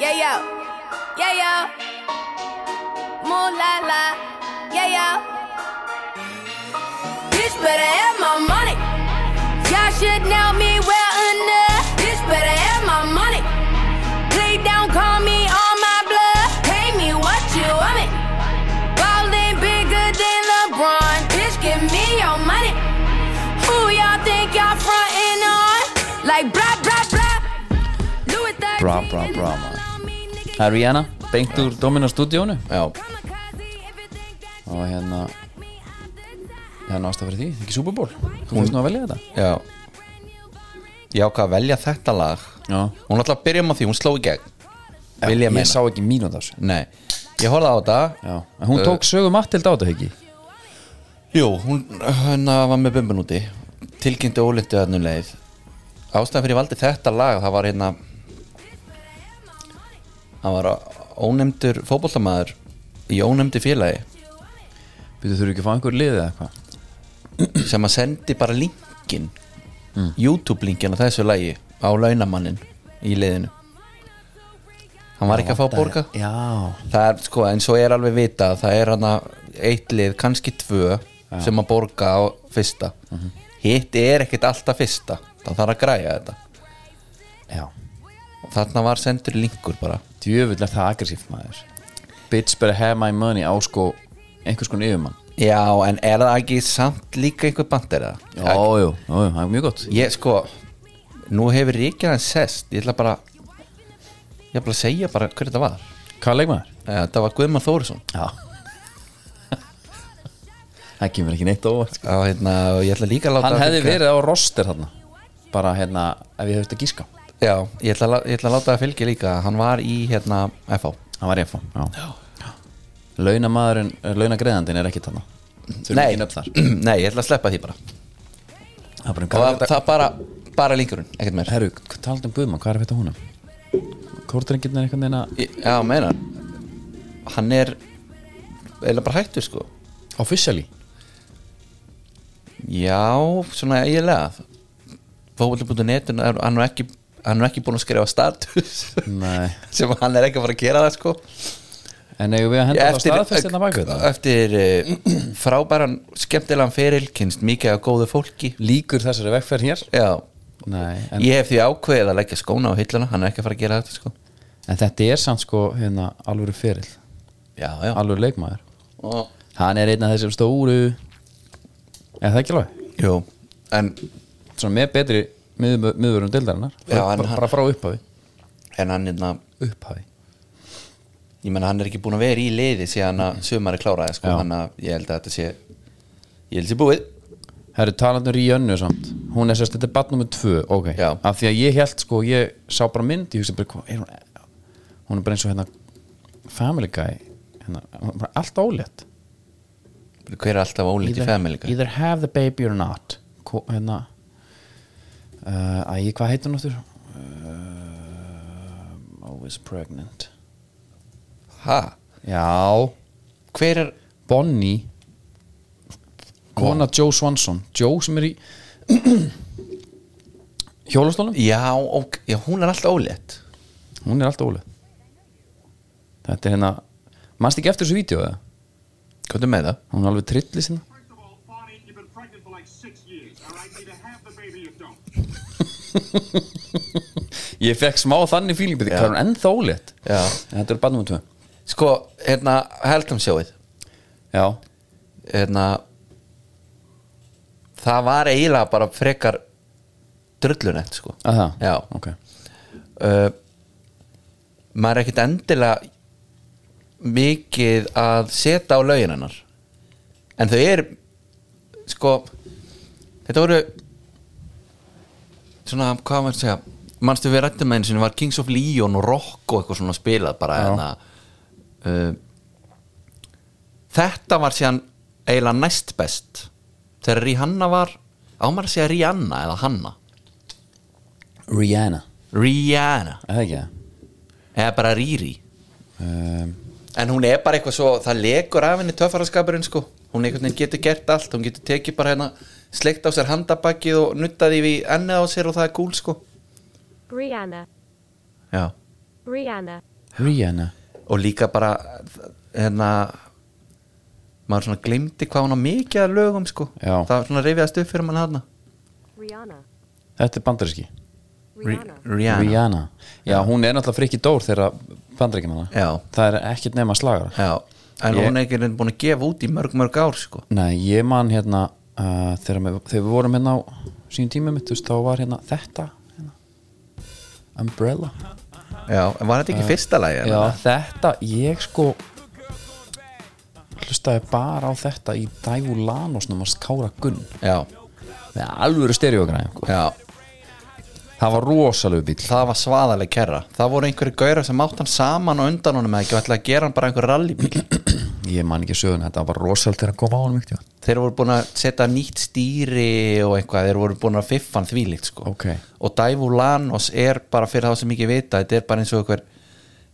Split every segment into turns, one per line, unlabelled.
yeah, yo, yeah, yo. Moo la la, yeah, yo. Bitch better have my money. Y'all should know me well enough. Bitch better have my money. Play down, call me on my bluff. Pay me what you want me. Ballin' bigger than LeBron. Bitch, give me your money. Who y'all think y'all frontin' on? Like blah blah blah. Louis
Bra, bra, bra,
blah.
Það er Rihanna, beint úr Domino stúdíónu
Já,
og hérna ég hann ástæð fyrir því, ekki Super Bowl þú fórst nú að velja þetta
já Ég ákvað að velja þetta lag
Já.
Hún ætla að byrja um á því, hún sló í gegn Vil ég
ég
meina
sá ekki mínúnd á þessu
Nei, ég horfði á þetta Uh,
Já, en hún tók sögu Mattild á þetta ekki
Jú, hún hana var með bumbun úti Tilkynnti ólindu þarna um leið Ástæðan fyrir ég valdi þetta lag Það var hérna Það var ónefndur fótboltamaður Í ónefndi félagi
Býtu þurfi ekki að fá einhver liðið eða eitthvað
Sem að sendi bara linkin Mm. YouTube linkin á þessu lagi Á launamannin í leiðinu Hann var ekki að fá að borga
Já,
það er sko eins og er alveg vita það er hana eitt lið, kannski tvö sem að borga á fyrsta hitt er ekkit alltaf fyrsta það þarf að græja þetta
já
og þarna var sendur linkur bara
Djöfull er það aggressíft maður Bitch better have my money á sko einhvers konar yfirmann
já en er það ekki samt líka einhver bandir það
Jó, jú, jú, það er mjög gott
ég sko nú hefur ríkir hann sest ég ætla bara ég ætla bara að segja bara hver þetta var
Hvað leik maður?
Eh, þetta var Guðmann Þórisson
Já Það kemur ekki neitt óvart sko.
og hérna, og ég ætla líka að láta
Hann hefði
fylgja-
verið á roster þarna Bara hérna, ef ég höfði að gíska
já, ég ætla, að lá- ég ætla að láta það fylgja líka hann var í hérna FH
Hann var FH Já, já. Launamaðurinn, eh, launagreiðandinn er ekki þarna Þurfum
Nei.
ekki nefn þar
Nei, ég ætla að sleppa því bara
Það er bara um
Og það,
hvað
það bara, bara linkurinn, ekkert meir
Herru, talað um Guðmann, hvað er þetta húnum? Kórdrengirna er einhvern veginn að
Ég- Já, meina Hann er eiginlega bara hættur sko
Officially
Já, svona eiginlega Fótbolti.net er- hann er ekki hann er ekki búin að skrifa status
Nei.
sem hann er ekki að fara að gera það sko
En eigum við að henda það staðfest hérna baka þetta?
eftir eh, frábæran skemmtilegan feril, kynst mikið að góðu fólki
Líkur þessari vegferð hér?
Já,
Nei, en,
ég hef því ákveðið að leggja skóna á hilluna hann er ekki að fara að gera þetta sko
en þetta er samt sko hérna alvöru ferill
Já, já
Alvöru leikmaður
Og-
Hann er einn af þessum stóru Er það ekki alveg?
Jú, en
Svona með betri miðvörum mið, deildarinnar
Já,
bara,
en
bara,
hann-
bara frá upphafi
en hann hérna
Upphafi
ég menna hann er ekki búin að vera í liði síðan að sumar er kláraði sko,
Já.
hann að ég held að þetta sé ég held að sé búið
Það eru talandum Ríönnu samt Hún er sérst, þetta er badnúmer tvö Ok,
Já.
af því að ég held sko Ég sá bara mynd, ég hugsa bara hvað er hún Hún er bara eins og hérna Family Guy hérna, hún er bara Allt ólétt
hver er alltaf ólít í family guy
either have the baby or not Ko, Hérna uh, Æ, hvað heitir hún áttur? Uh, always pregnant
ha,
Já,
hver er
Bonnie Kona Joe Swanson Joe sem er í Hjólastólum
já, ok, já, hún er alltaf ólít
Hún er alltaf ólega Þetta er hérna Manst ekki eftir þessu vídeo eða?
hvað er með það?
Hún er alveg trilli sinna
First of all, Bonnie, you've been pregnant for like six years, all right? Either have the baby or don't.
Ég fekk smá þannig fíling Byrði, hvað er hún ennþá ólétt?
Já.
En Þetta er bara nummer 2
sko, hérna, heldum sjóið
Já
hérna það var eiginlega bara frekar drullunett sko
Aha.
já,
Ok
uh, maður er ekkit endilega mikið að setja á lögin hennar en þau er sko þetta voru svona hvað maður að segja manstu við rættum með einu sinni var Kings of Leon og Rock og eitthvað svona spilað bara
Já.
hérna uh, þetta var síðan eiginlega næst best þegar Rihanna var ámar að segja Rihanna eða Hanna
Rihanna
Rihanna
Er það ekki það?
eða bara Riri
Um,
En hún er bara eitthvað svo, það legur af henni töffaraskapurinn sko Hún einhvern veginn getur gert allt, hún getur tekið bara hérna Sleikt á sér handabakið og nuttaði við ennið á sér og það er gúl sko
Rihanna,
Já
Rihanna,
Rihanna
og líka bara hérna maður svona glemdi hvað hún á mikið að lögum sko,
Já.
það svona reyfiðast upp fyrir mann hana
Rihanna.
Þetta er bandaríski
Rihanna.
Rihanna,
Rihanna Já, hún er náttúrulega frikki dór þegar bandaríkjum hana
Já.
Það er ekkert nema slagara
Já, en
Ég-
hún er ekki reynd búin að gefa út í mörg mörg ár sko
Nei, ég man hérna uh, þegar, með, þegar við vorum hérna á sín tíma mitt, þú veist, þá var hérna þetta hérna. Umbrella
Já, en var þetta ekki fyrsta lagi?
Já, þetta, ég sko hlustaði bara á þetta í Dævu Lanosnum að skára gunn
Já,
með alvöru stereogræn sko.
já,
það var rosalegu bíl
það var svaðaleg kerra Það voru einhverju gaurar sem átt hann saman og undan honum eða ekki ætla að gera hann bara einhver rallybíl
ég man ekki söguna, þetta var rosalegt þegar að koma á hann mikti
Þeir voru búin að setja nýtt stýri og eitthvað, þeir voru búin að fiffan þvílíkt sko
Ok.
Og Dævu Lanos er bara fyrir þá sem ekki vita, þetta er bara eins og einhver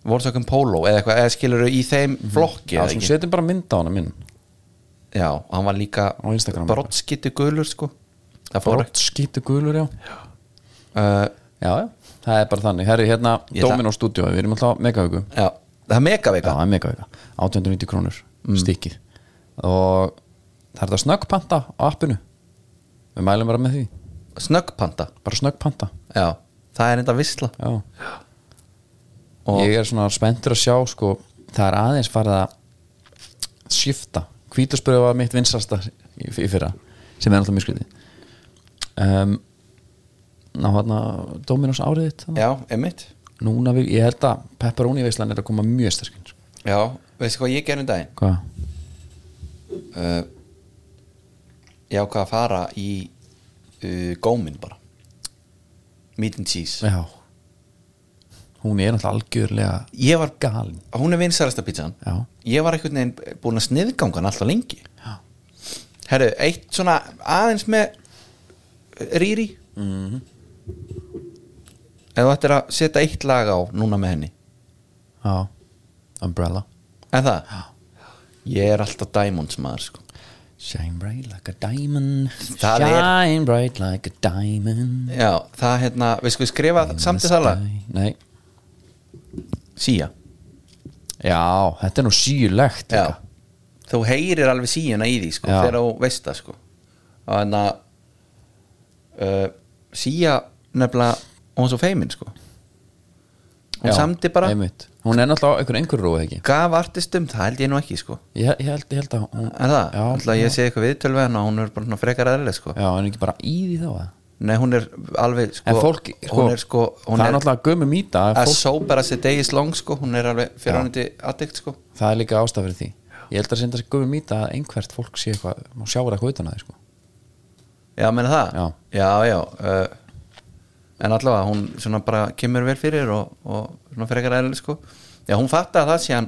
Volkswagen Polo eða eitthvað, eða skilur í þeim flokki
Já,
eða
sko,
ekki?
setjum bara mynd á hana minn
Já, og hann var líka
Á Instagram.
brottskittu gulur sko Það fór
Brott skýtu gulur, já
uh,
Já, já, það er bara þannig Herri, hérna,
Ég ætla-
Dominó stúdíu, við erum alltaf megavöku Já,
Já, það er megavika
það er megavöka, 890 krónur stikkið og það er þetta snöggpanta á appinu við mælum bara með því,
snöggpanta
bara snöggpanta
já, það er enda visla
Já,
og
ég er svona spenntur að sjá sko, það er aðeins farið að skipta, hvítaspöðu var mitt vinsasta í, í fyrra sem er alltaf mjög skriði um, ná hérna Dominós árið þitt þarna.
já, einmitt
núna, við, ég held að pepperoni veislan er að koma mjög sterkinn sko.
já, veistu hvað ég gerði um daginn
hvað?
uh, ég ákvað að fara í uh, góminn bara meat and cheese
Já Hún er náttúrulega algjörlega
ég var,
galin
hún er vinsælasta pítsan
Já.
ég var einhvern veginn búin að sniðganga hann alltaf lengi
Já.
herru, eitt svona aðeins með rýri mm -hmm. ef þú ættir að setja eitt lag á núna með henni
Já Umbrella
En það? Ég er alltaf Diamonds maður sko
Shine bright like a diamond
Það er-
Shine bright like a diamond
Já, það hérna, við sko skrifa samt í sala
Nei
Sía
Já, þetta er nú sko. síulegt
Já, þú heyrir alveg síuna í því sko
Já.
Þegar þú veist það sko Þannig að uh, Sía nefnilega Og hún er svo feimin sko Hún
Já,
samdi bara
einmitt. Hún er náttúrulega einhver einhver rúið ekki
Gaf artistum, það held ég nú ekki sko
ég, ég, held, ég held að hún
En það,
Já,
alltaf ég sé eitthvað viðtölve hana Hún er bara svona frekar aðrileg sko
Já, en ekki bara í því þá eða?
Nei, hún er alveg sko,
En fólk, sko,
Hún er sko hún
Það er náttúrulega gömum í það
að
fólk,
sober as a day is long sko, hún er alveg fyrirhandi addict sko
Það er líka ástaf fyrir því Ég held að senda sér gömum í það að einhvert fólk sé eitthvað Má sjá eitthvað utan að því sko
já, meina það,
Já.
já, já uh, en allavega, hún svona bara kemur vel fyrir og, og svona fyrir ekkert eðlileg sko já, hún fattaði það síðan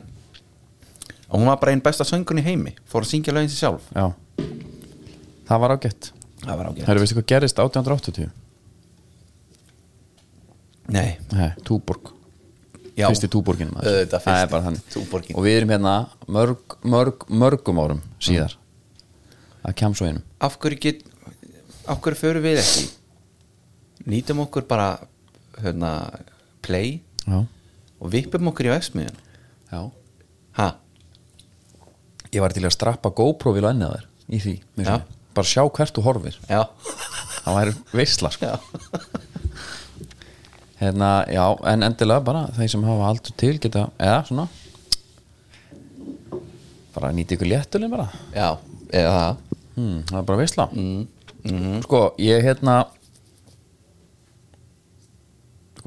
og hún var bara einn besta söngun í heimi fór að syngja lögin sér sjálf
Já Það var ágætt
það var ágætt
Herru, veistu hvað gerist 1880?
nei,
Nei, Túborg
já,
Fyrsti túborgin maður
Auðvitað,
Það er
fyrsti
bara þannig
túborginn.
Og við erum hérna mörg, mörg, mörgum árum síðar Það kem svo einum
af hverju get af hverju förum við ekki nýtum okkur bara hérna, play
Já
og vippum okkur í vegsmíðun
Já
ha,
Ég var til að strappa GoPro vil ennið þér Í því mér
Já.
finnst. Bara sjá hvert þú horfir
já,
Það væri veisla sko
já
Hérna, já, en endilega bara Þeir sem hafa aldur til geta Eða svona Bara nýti ykkur léttulinn bara
já, eða það
Hmm, það er bara veistla mm. Sko, ég hérna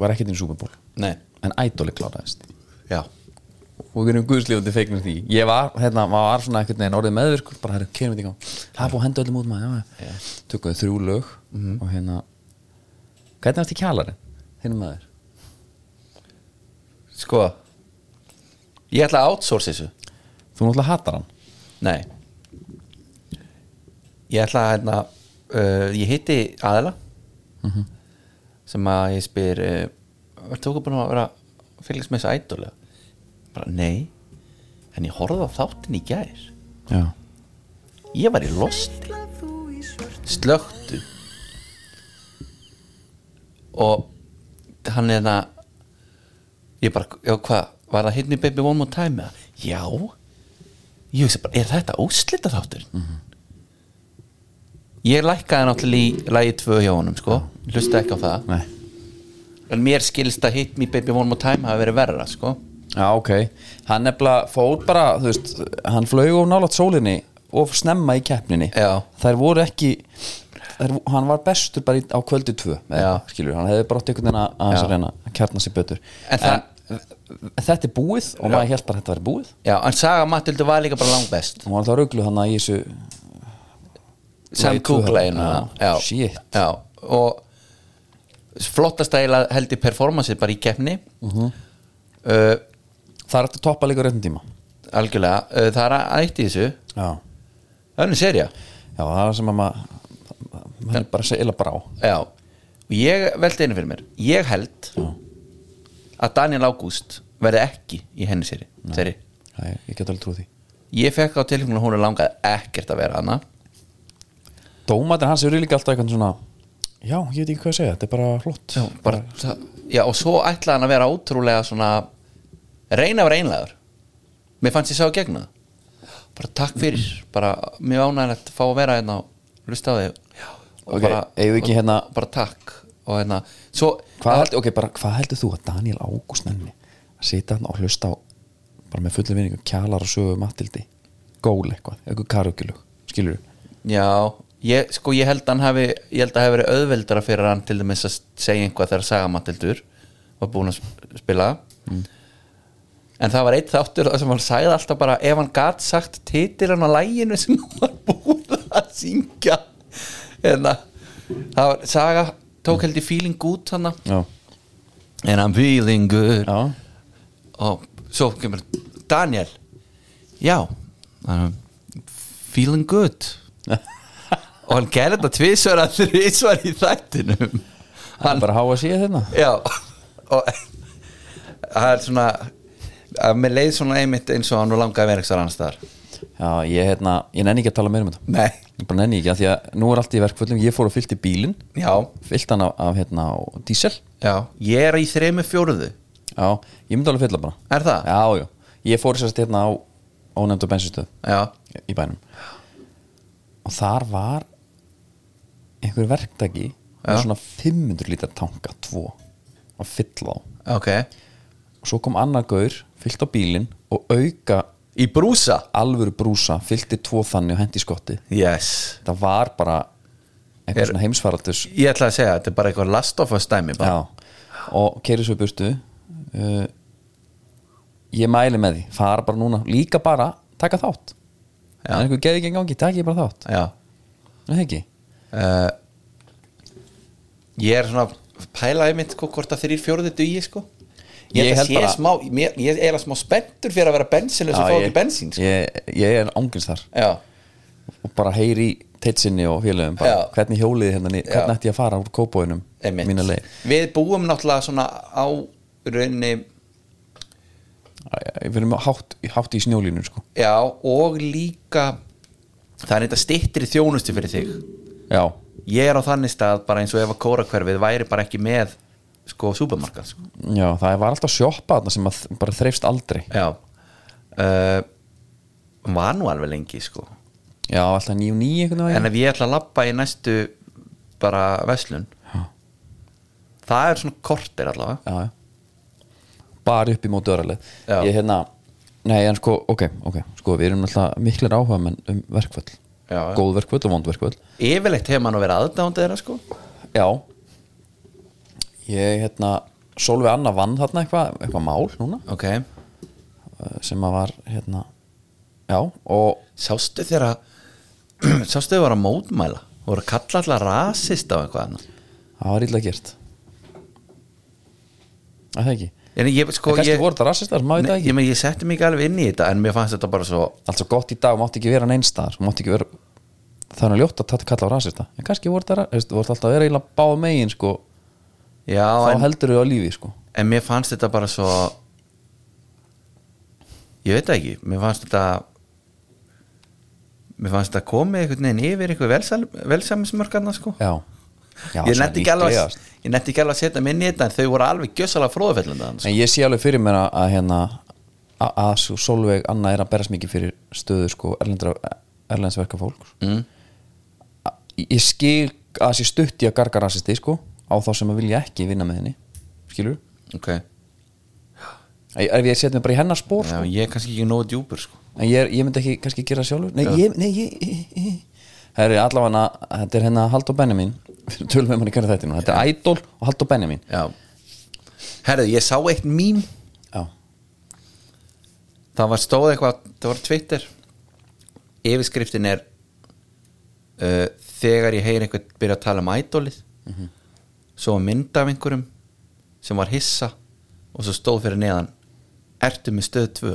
var ekkert inn í Super Bowl
Nei,
en ædóli kláraðist
já
og við erum guðslífandi feiknir því ég var, hérna, var svona ekkert neginn orðið meðvirkur bara hérna, kemur þetta í gang það er búið að henda öllum út maður já, já. tökum við þrjú lög og hérna hvernig varst í kjalarinn, þínum maður
Sko Ég ætla að outsource þessu
þú náttúrulega hatar hann
Nei Ég ætla að hérna, uh, Ég hitti aðila sem að ég spyr uh, Var tóku búin að vera að fylgjast með þessu ædólega Bara nei En ég horfði á þáttin í gær
já,
Ég var í losti Slöktu Og Hann er það Ég bara, já hvað var það hitni Baby One More Time með já ég hugsa bara, er þetta óslita þáttur Mhm. ég lækkaði náttúrulega í lagi tvö hjá honum sko, hlusta ekki á það
Nei.
en mér skilst að Hit Me Baby One More Time hafi verið verra sko
Já, ok Hann nefnilega fór bara, þú veist Hann flög of nálaðt sólinni og snemma í keppninni
Já.
Þær voru ekki þær, Hann var bestur bara í, á kvöldu tvö
Já.
Skilur, hann hefði bara átt einhvern veginn að- að
Já.
að reyna að kjarna sér betur
En það-
þetta er búið og maður held bara að þetta væri búið
já, en Saga Matildu var líka bara langbest
Hún var alltaf ruglu hann að í þessu
sem
Lagi tvö.
kúklaðinu
Já,
já,
shit.
já, og flottast eiginlega held í performanceið bara í keppni uh,
Það er hægt að toppa líka á réttum tíma
algjörlega uh, það er að eitt í þessu
Já,
önnur serja
Já það er sem að maður maður er bara að segja illa brá
já. og ég veldi einu fyrir mér ég held að Daniel Ágúst verði ekki í henni serju serju.
Það er, ég get alveg trúið því
ég fekk á tilfengun að hún er langað ekkert að vera hana
Dómatin hans eru líka alltaf eitthvað svona Já, ég veit ekki hvað að segja, þetta er bara flott
já, bara, það, já, og svo ætlaði hann að vera ótrúlega svona reyna og reynlegar mér fannst ég sá í gegna bara takk fyrir, bara mjög ánægilegt að fá að vera hérna og hlusta á þig og
Ok, eigum við ekki
og-
hérna-
bara takk og hérna, svo
hvað, held, okay, bara, hvað heldur þú að Daniel Ágúst nenni að sita hann og hlusta á bara með fullu vinningu, kjalar og sögu matildi gól eitthvað, eitthvað karugilug skilur
já, ég, sko ég held að hann hafi ég held að hafi verið auðveldara fyrir hann til dæmis að segja einhvað þegar sagamatildur var búin að sp- spila Mm. en það var eitt þáttur þar sem hann sagði alltaf bara ef hann gat sagt titilin á læginu sem hann var búin að syngja en það var, saga tók held í feeling good hann
Já,
en I'm feeling good
já,
og svo kemur Daniel já um, feeling good og hann gerði þetta tvisvar að þrisvar í þættinum
hann bara háa að síða þeirna
já og það er svona að mér leið svona einmitt eins og hann og langa að vera eitthvað annars þar
Já, ég, hérna, ég nenni ekki að tala meira um þetta
nei,
ég bara nenni ekki, af því að nú er allt í verkföllum ég fór og fyllt í bílinn,
já,
fyllt hann af, af hérna, á dísel
já ég er í þremi fjóruðu
Já, ég myndi alveg fylla bara
er það?
Já, já, ég fór sérst hérna á ónefndu bensinstöð
já,
í bænum og þar var einhver verktaki með
Já.
svona 500 lítar tanka tvo að fylla á og
ok
svo kom annar gaur, fyllt á bílinn og auka
í brúsa?
alvöru brúsa, fyllti tvo þannig og hendi í skotti
yes
það var bara einhver
Er-
svona heimsfaraldus
ég ætla að segja, þetta er bara eitthvað last of us dæmi bara.
Já, og keiri svo í burtu uh, ég mæli með því fara bara núna, líka bara taka þátt
Já.
en einhver geði ekki en gangi, taka ég bara þátt
já.
er það ekki?
uh, ég er svona að pæla einmitt sko, hvort að þrýr fjóruði dugi sko. ég,
Ég
ég,
held
bara...
bara-
smá, mér, ég er að smá spenntur fyrir að vera bensinlega sem fá
ég-
ekki bensín sko.
ég, ég er ángins þar
já,
og bara heyri í teitsinni og félögum bara,
Já.
hvernig hjóliði hérna, ni-
Já.
hvernig ætti ég að fara úr kópóinum
einmitt.
mína leið
við búum náttúrulega svona á rauninni
Æ, við erum hátt, hátt í snjólínu sko.
já, og líka það er þetta styttri þjónustu fyrir þig
já,
ég er á þannig stað bara eins og ef að kórakverfið væri bara ekki með sko supermarkað sko.
já, það var alltaf sjoppa þarna sem að þ- bara þreifst aldrei
já uh, var nú alveg lengi sko
já, alltaf nýjum nýjum einhvern
en
veginn
ef ég ætla að lappa í næstu bara veslun það er svona kortir allavega
já, já. bara upp í móti öðralið
Já.
ég hérna, nei en sko ok, ok, sko við erum alltaf miklar áhuga menn um verkvöld,
Já, já.
góð verkvöld og vond verkvöld
yfirleitt hefur mann að vera aðdándið þeirra sko
já ég hérna Solveig Anna vann þarna eitthvað eitthvað mál núna
ok,
eh, sem að var hérna já og
sástu þeirra sástu þeirra að mótmæla voru að kalla allar rasist á eitthvað annað
það var illa gert að það ekki
en ég sko
en kannski
ég,
voru þetta rassistar, maður veit
Nei,
það
ég,
ekki
meina, ég setti mig ekki alveg inn í þetta en mér fannst þetta bara svo
allt svo gott í dag, mátti ekki vera neinstaðar mátti ekki vera það er nú ljótt að þetta kalla á rassista en kannski voru þetta, þú veist, voru þetta alltaf að vera eila báð megin sko,
já,
þá
en,
heldur þau á lífi sko
en mér fannst þetta bara svo ég veit það ekki mér fannst þetta mér fannst þetta komið einhvern veginn yfir einhver velsamismörkarna sko
já, já
ég
svona
netti ekki, alveg
líklegast.
að-
Sko.
ég nefndi ekki alveg að setja mig inn í þetta en þau voru alveg gjössalega fróðafellandi
en ég sé alveg fyrir mér að, að hérna a- að svo Solveig Anna er að berast mikið fyrir stöðu sko erlendra, erlendsverka fólk mm. ég skil að það sé stutt í að garga rasisti sko á þá sem að vilja ekki vinna með henni skilur,
ok já,
ef ég setja mig bara í hennar spór sko.
ég er kannski ekki nógu djúpur sko.
en ég, er, ég myndi ekki kannski gera það sjálfur nei, ég, nei, ég það eru allavega, þetta er hennar Haldur Benjamin tölum um við manni hvernig þetta er þetta er Idol og Haldur Benjamin
já herðu, ég sá eitt mím
já,
það var stóð eitthvað, það var á Twitter yfirskriftin er uh, þegar ég heyr einhvern byrja að tala um ædólið svo var mynd af einhverjum sem var hissa og svo stóð fyrir neðan ertu með stöð 2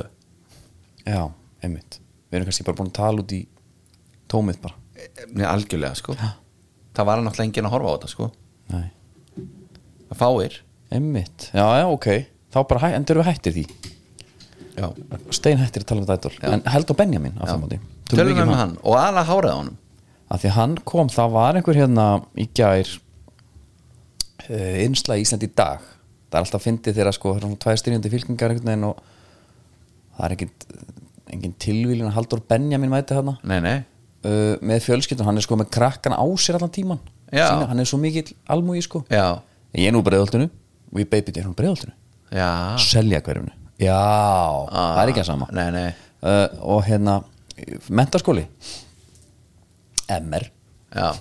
já, einmitt við erum kannski bara búin að tala út í tómið bara
Nei, algjörlega sko það var náttúrulega enginn að horfa á þetta sko
nei
það fáir
Einmitt, já, já, ok Þá bara hæ, endur við hættir því
já.
Stein hættir að tala um þetta idol En held á Benjamin af það mátti
tölum við með hann og ala hárað á honum
um Af því að hann kom, það var einhver hérna í gær uh, Innsla í Ísland í dag Það er alltaf fyndið þegar sko Það er svona tvær styrjandi fylkingar einhvern veginn og það er ekkit engin tilvílin að Haldur Benjamin mæti þarna
nei, nei,
uh, með fjölskyldun, hann er sko með krakkana á sér allan tíman
Já.
hann er svo mikill almúi sko
já,
ég er nú breiðoltinu og ég baby, er hún breiðoltinu
já
selja hverfinu já, það er ekki að sama
nei, nei,
uh, og hérna mentaskóli MR
já,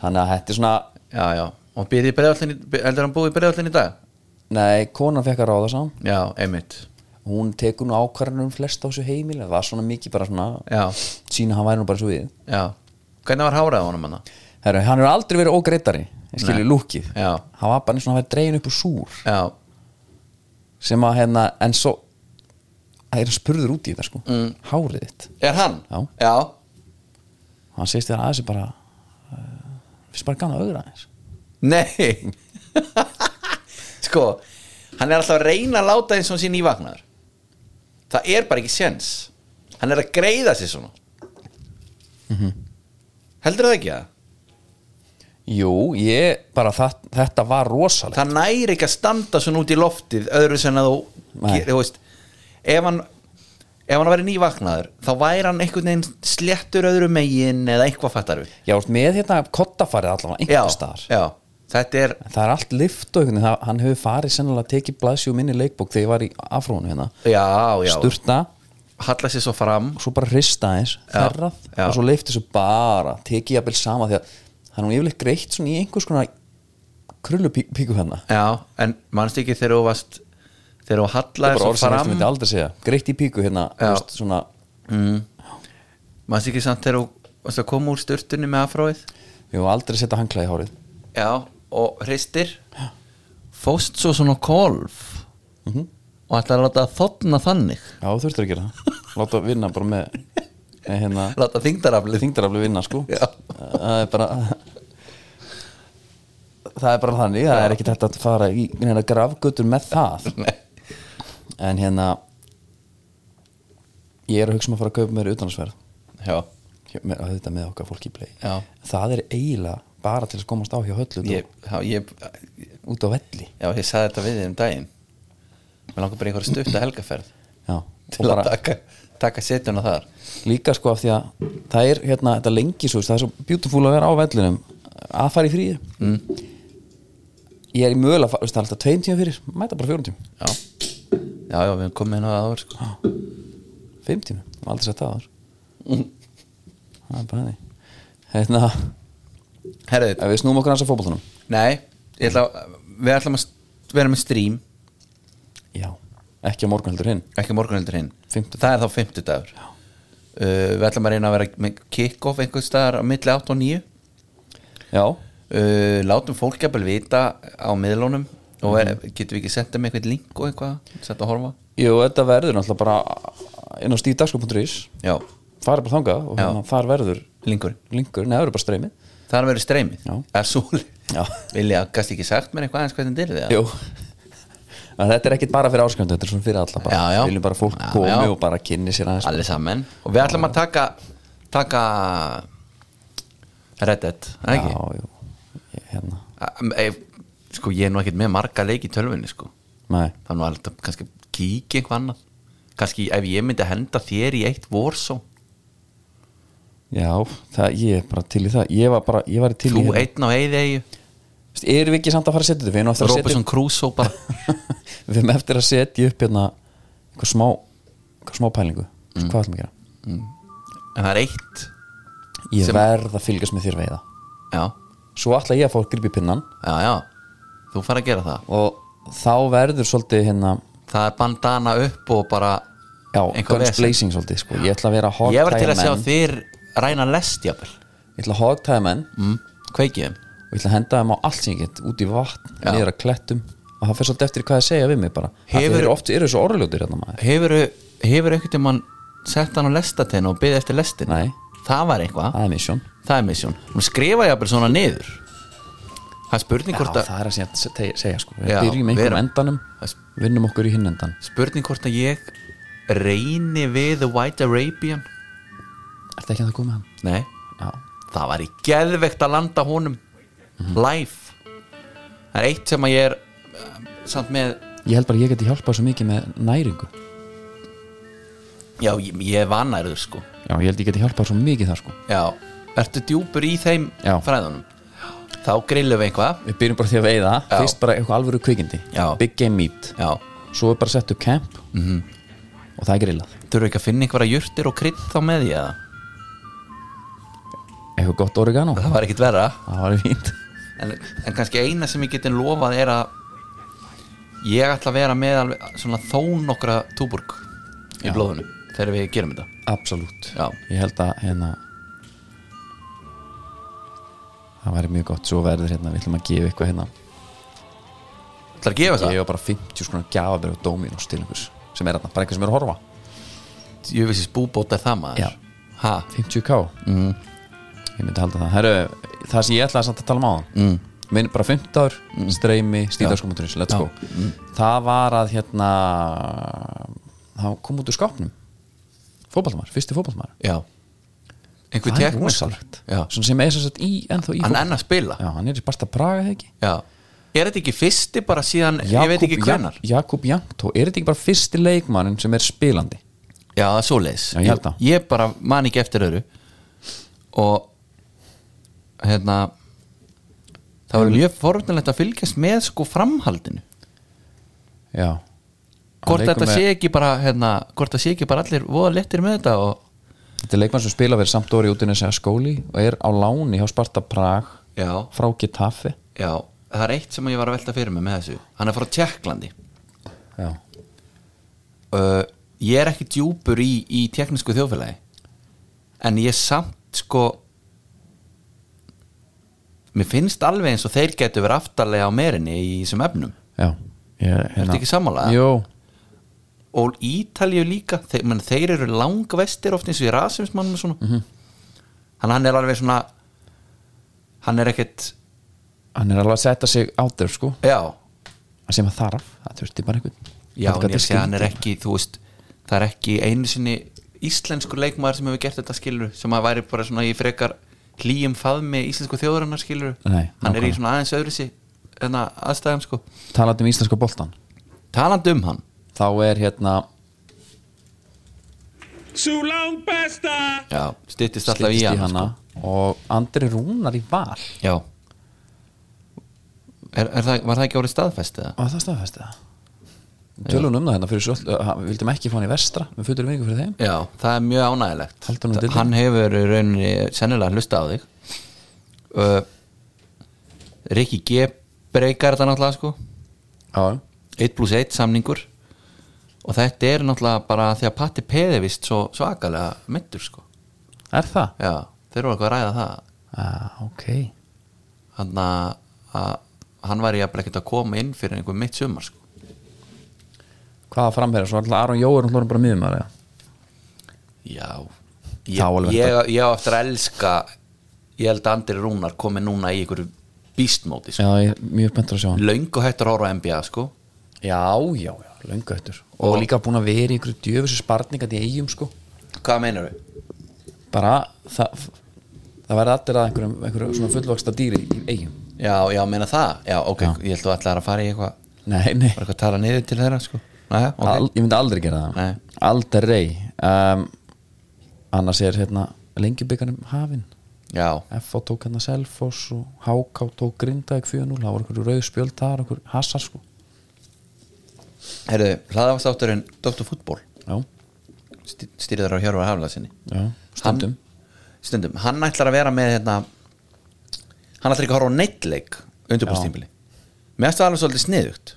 þannig að þetta er svona
já, já og byrði breiðallin, heldur hann búið breiðallin í dag
nei, konan fekk að ráða sá
já, einmitt
hún tekur nú ákvarðanum flest á þessu heimil það var svona mikið bara svona
Já.
sína að hann væri nú bara svo við
Já, hvernig var hárað á honum hann?
Heru, hann hefur aldrei verið ógreitari ég skilji
Nei.
lúkið
Já.
hann var bara eins og hann væri dregin upp úr súr
Já,
sem að hérna, en svo það er hann spurður út í þetta sko mm. hárið þitt,
er hann?
Já.
Já,
hann segist þér aðeins er bara uh, finnst bara gana öðra aðeins
nei Sko, hann er alltaf að reyna að láta eins og sín nývagnar Það er bara ekki séns Hann er að greiða sér svona
Mhm.
Heldur það ekki að?
jú, ég, bara það, þetta var rosalegt
Það næri ekki að standa svona út í loftið öðru sem að þú,
Nei.
þú veist, ef hann ef hann væri nývagnar þá væri hann einhvern veginn sléttur öðru megin eða eitthvað fattar við
Já, þú ert með hérna kottafarið allavega einhver staðar
já, þetta er
En Það er allt lift og einhvern veginn það- Hann hefur farið sennilega að tekið blaðsjú minni leikbók þegar ég var í afrónu hérna
já, já,
Sturta,
halla sér svo fram
svo bara hrista aðeins,
Já,
ferrað
já.
og svo leifti þessu bara, tekið jafnvel sama því að það er nú yfirleitt greitt svona í einhvers konar krullupíku hérna
já, en mannst ekki þegar þú varst þegar þú
Það er
hallaði
bara
svo
orð sem ég
fram
myndi aldrei segja Greitt í píku hérna, þú
Já.
veist, svona
mannst ekki samt þegar þú varst að koma úr sturtunni með afróið
Ég hef aldrei setja hangla í hárið
já, og hristir fóst svo svona á kolf
Mhm.
og ætlaði að láta það þotna þannig
Já, þú þurftur að gera það Láta vinna bara með, með hérna,
láta þingdaraflið
þingdaraflu vinna sko
Já.
það er bara það er bara þannig, það er ekki hægt að fara í hérna, grafgötur með það en hérna ég er að hugsa um að fara að kaupa mér utanansverð
já,
með, auðvitað með okkar fólki í play
Já.
það er eiginlega bara til að komast á hjá höllu
ég, já, ég
út á velli
já, ég saði þetta við þig um daginn mér langar bara í einhverja stutt að helgaferð
Já. og
til að
bara
taka, taka setjuna þar
líka sko af því að það er hérna þetta lengi svo, það er svo beautiful að vera á vellinum að fara í fríi mm. ég er í mögulega að fara, veist, það er alltaf tveim tíma fyrir mæta bara fjórum tíma
já, já, já, við erum komið inn á það áður sko.
Fimm tími, ég hef aldrei sett það áður Mm. Það er bara því Hérna,
herðu,
ef við snúum okkur hans að fótboltanum
nei ég ætla, að- við ætlum að st- vera með stream
Já, ekki á morgun heldur hinn
ekki morgun heldur hinn
Fimmtudagur.
það er þá fimmtudagur uh, við ætlum að reyna að vera með kick-off einhvers staðar á milli 8 og 9
Já,
uh, látum fólk jafnvel vita á miðlunum og
Mhm.
er, getum við ekki senda með eitthvað link og eitthvað, sett að horfa
jú, þetta verður náttúrulega bara inn á stíðdagsku.is
já,
Farið bara þangað og
Já.
hérna, þar verður
linkurinn,
linkur, neða verður bara streymið
það er að vera streymið
Já.
er svo
Já.
vilja, gæst ekki sagt mér eitthvað aðeins hvernig dyrir þið
Jú En þetta er ekkit bara fyrir ásköndu, þetta er svona fyrir alla bara.
Já, já.
Við viljum bara að fólk
Já,
komi
já.
og bara kynni sér aðeins sko.
allir saman og við ætlum að taka taka Red Dead, er það
Já,
ekki?
jú, Ég- hérna
Að- ef- sko ég er nú ekkert með marga leik í tölvunni sko
Nei,
þannig að alltaf kannski kíkja eitthvað annað kannski ef ég myndi henda þér í eitt Warzone
já, það, ég er bara til í það ég var bara, ég var til í
þú
það
einn á Eyðeyju
Veist, erum við ekki samt að fara að setja þetta við erum eftir að
Robinson Crusoe bara
setja við erum eftir að setja upp hérna eitthvað smá, eitthvað smá pælingu
Mm.
hvað ætlum við að gera
en það er eitt
ég
Sem-
verð að fylgjast með þér veiða
já,
svo ætla ég að fá að gripa í pinnan
já, já, þú fara að gera það
og þá verður svolítið hérna
það er bandana upp og bara
já,
Eitthvað
guns
vesen.
blazing svolítið sko. ég ætla að vera
ég var til
hogtæja
að sjá
menn
þér ræna lest jafnvel
ég ætla að hogtæja menn
mm, kveikið þeim
og ég ætla að henda þeim á allt sem ég get út í vatn,
Já.
niður að klettum og það fyrir svolítið eftir hvað ég segja við mig bara
Hefur-
hefur... þeir eru oft, eru svo orðljótir hérna maður
hefur, hefur einhvern tímann sett hann á lestateinu og byggði eftir lestin
Nei.
það var eitthvað,
það er misjón
það er misjón hún skrifa jafnvel svona niður það er spurning
Já,
hvort að
það er að segja, segja, segja sko. við
Já,
byrjum einhverjum
vera-
endanum
það er
vinnum okkur í hinn endan
spurning hvort að ég reyni við The White Arabian
er það ekki að það koma hann?
nei,
Já.
það var í geðvegt að landa honum
Mhm.
live það er eitt sem að ég er eh, samt með,
ég held bara að ég geti hjálpað svo mikið með næringu
já ég, ég er vanærður sko,
já, ég held ég geti hjálpað svo mikið það sko.
já ertu djúpur í þeim
Já.
fræðunum þá grillum við eitthvað
við byrjum bara því að veiða,
Já.
fyrst bara eitthvað alvöru kvikindi
Já. Mhm.
big game meat,
já,
svo er bara sett upp camp -hmm. og það er grillað
Þurfa ekki að finna einhverja jurtir og krydd þá með ég eða?
eitthvað gott oregano,
Það var ekkit verra
það var fínt
en, en kannski eina sem ég getin lofað er að ég ætla að vera með alveg svona þó nokkra túborg í
Já.
blóðinu þegar við gerum þetta
Absolutt
Já.
Ég held að hérna Það væri mjög gott Svo verður hérna, við ætlum að gefa eitthvað hérna
Það að gefa það?
Ég var bara 50 skonar gjafabir og dómin og stillingus sem er hérna, bara eitthvað sem er að horfa
Ég vissi spúbóta það maður
Já.
ha,
50k mm.
Mhm.
Ég myndi halda það Heru, Það sem ég ætlaði samt að tala um áðan mm. Minn bara 15 ár, streymi, stíðarskomuturis Let's
Mhm. Já. Mhm.
go Það var að hérna Það kom út úr skápnum Fótballmar, fyrsti fótballmar
Já Einhver
Það er
teknir
rosalegt
Já.
Svona sem er sem sagt í, ennþá í
Hann
fótbolta.
enn að spila
Já, hann er í Barsta Braga, eða ekki?
Já. Er þetta ekki fyrsti bara síðan ég veit ekki
Jakub
hvenar?
Jan- Jakub Jankto, er þetta ekki bara fyrsti leikmannin sem er spilandi?
Já, það er svoleiðis
Já, ég held það.
ég bara man ekki eftir öðru og hérna það var mjög forvitnilegt að fylgjast með sko framhaldinu
Já
hvort
Hann leikur
þetta
með-
sé ekki bara hérna, hvort það sé ekki bara allir voða lettir með þetta og
Þetta er leikmann sem spila verið samt orði út í þessi skóli og er á láni hjá Sparta Prag
já,
frá Getafe
já, það er eitt sem ég var að velta fyrir mig með þessu hann er frá Tjekklandi
Já,
uh, ég er ekki djúpur í, í teknísku þjóðfélagi en ég samt sko mér finnst alveg eins og þeir getur verið aftarlega á merinni í þessum efnum
já ég, hérna-
ekki sammála?
Jó,
og Ítalíu líka þeir, menn, þeir eru langvestir oft eins og í rasismannum og svona hann, hann er alveg svona hann er ekkert
hann er alveg að setja sig á þér sko
já,
sem að þarf, það þurfti bara einhvern
já
Þetta
en ég sé
skrítið.
hann er ekki þú veist, það er ekki einu sinni íslenskur leikmaður sem hefur gert þetta skilur sem að væri bara svona í frekar hlýjum faðmi íslensku þjóðurinnar skilur
Nei,
hann er í
nákvæmlega.
svona aðeins öðrisi en aðstæðum sko
Talandi um íslenska boltan
talandi um hann
þá er hérna
Sulong Pesta!
já, styttist alltaf
slitist
í
í
hann
hana og Andri Rúnar í val
Sko. já er, er það, var það ekki orðið staðfest eða?
Var það staðfæst það? Tölun um það hérna fyrir svol, uh, við vildum ekki fá hann í vestra við fyrir vingu fyrir þeim
Já, það er mjög ánægilegt
Heldur hann á deildinni?
Hann hefur í rauninni sennilega hlusta á þig uh, Rikki G breykar þetta náttúrulega sko
Já,
1 plus 1 samningur og þetta er náttúrulega bara því að Patti Peði vist svo svakalega myndur sko
er það?
Já, þeir eru eitthvað að ræða það
Ah, ok
hann að að hann var í að ekkert að koma inn fyrir einhver mitt sumar sko
Hvaða framherjar? Svo alltaf Aron Jó er hún hlórum bara miðum að
Já
Þá alveg
Ég, ég, ég á eftir að elska ég held að Andri Rúnar komi núna í einhverju býstmóti sko
Já, ég er mjög spenntur að sjá hann
löngu hættur að horfa á NBA sko
Já, já, já, löngu öttur Og líka búin að vera í einhverju djöfusu spartningat í eigum sko
hvað meinar við?
Bara það Það verði allir að einhverjum, einhverjum svona fullvaksta dýri í eigum
já, já, meina það, já, ok,
Já.
ég held að þú ætlar að fara í eitthvað
Nei, nei
bara eitthvað að tala niður til þeirra sko Jæja, ok.
Al, ég myndi aldrei gera það
Nei.
aldrei um, annars er hérna lengjubikarnum hafin
Já,
F.O. tók hérna Selfoss og H.K. tók Grindavík 4-0 það var okkur rauðspjöld þar, okkur hassar sko
herðu, hlaðafastátturinn Dr. Fútból
já,
stýriðar á Hjörvar Haflasinni
já, stundum
Stundum, hann ætlar að vera með hérna Hann ætlar ekki að horfa á neittleik undirbúrstímbili Mér erstu alveg svolítið sniðugt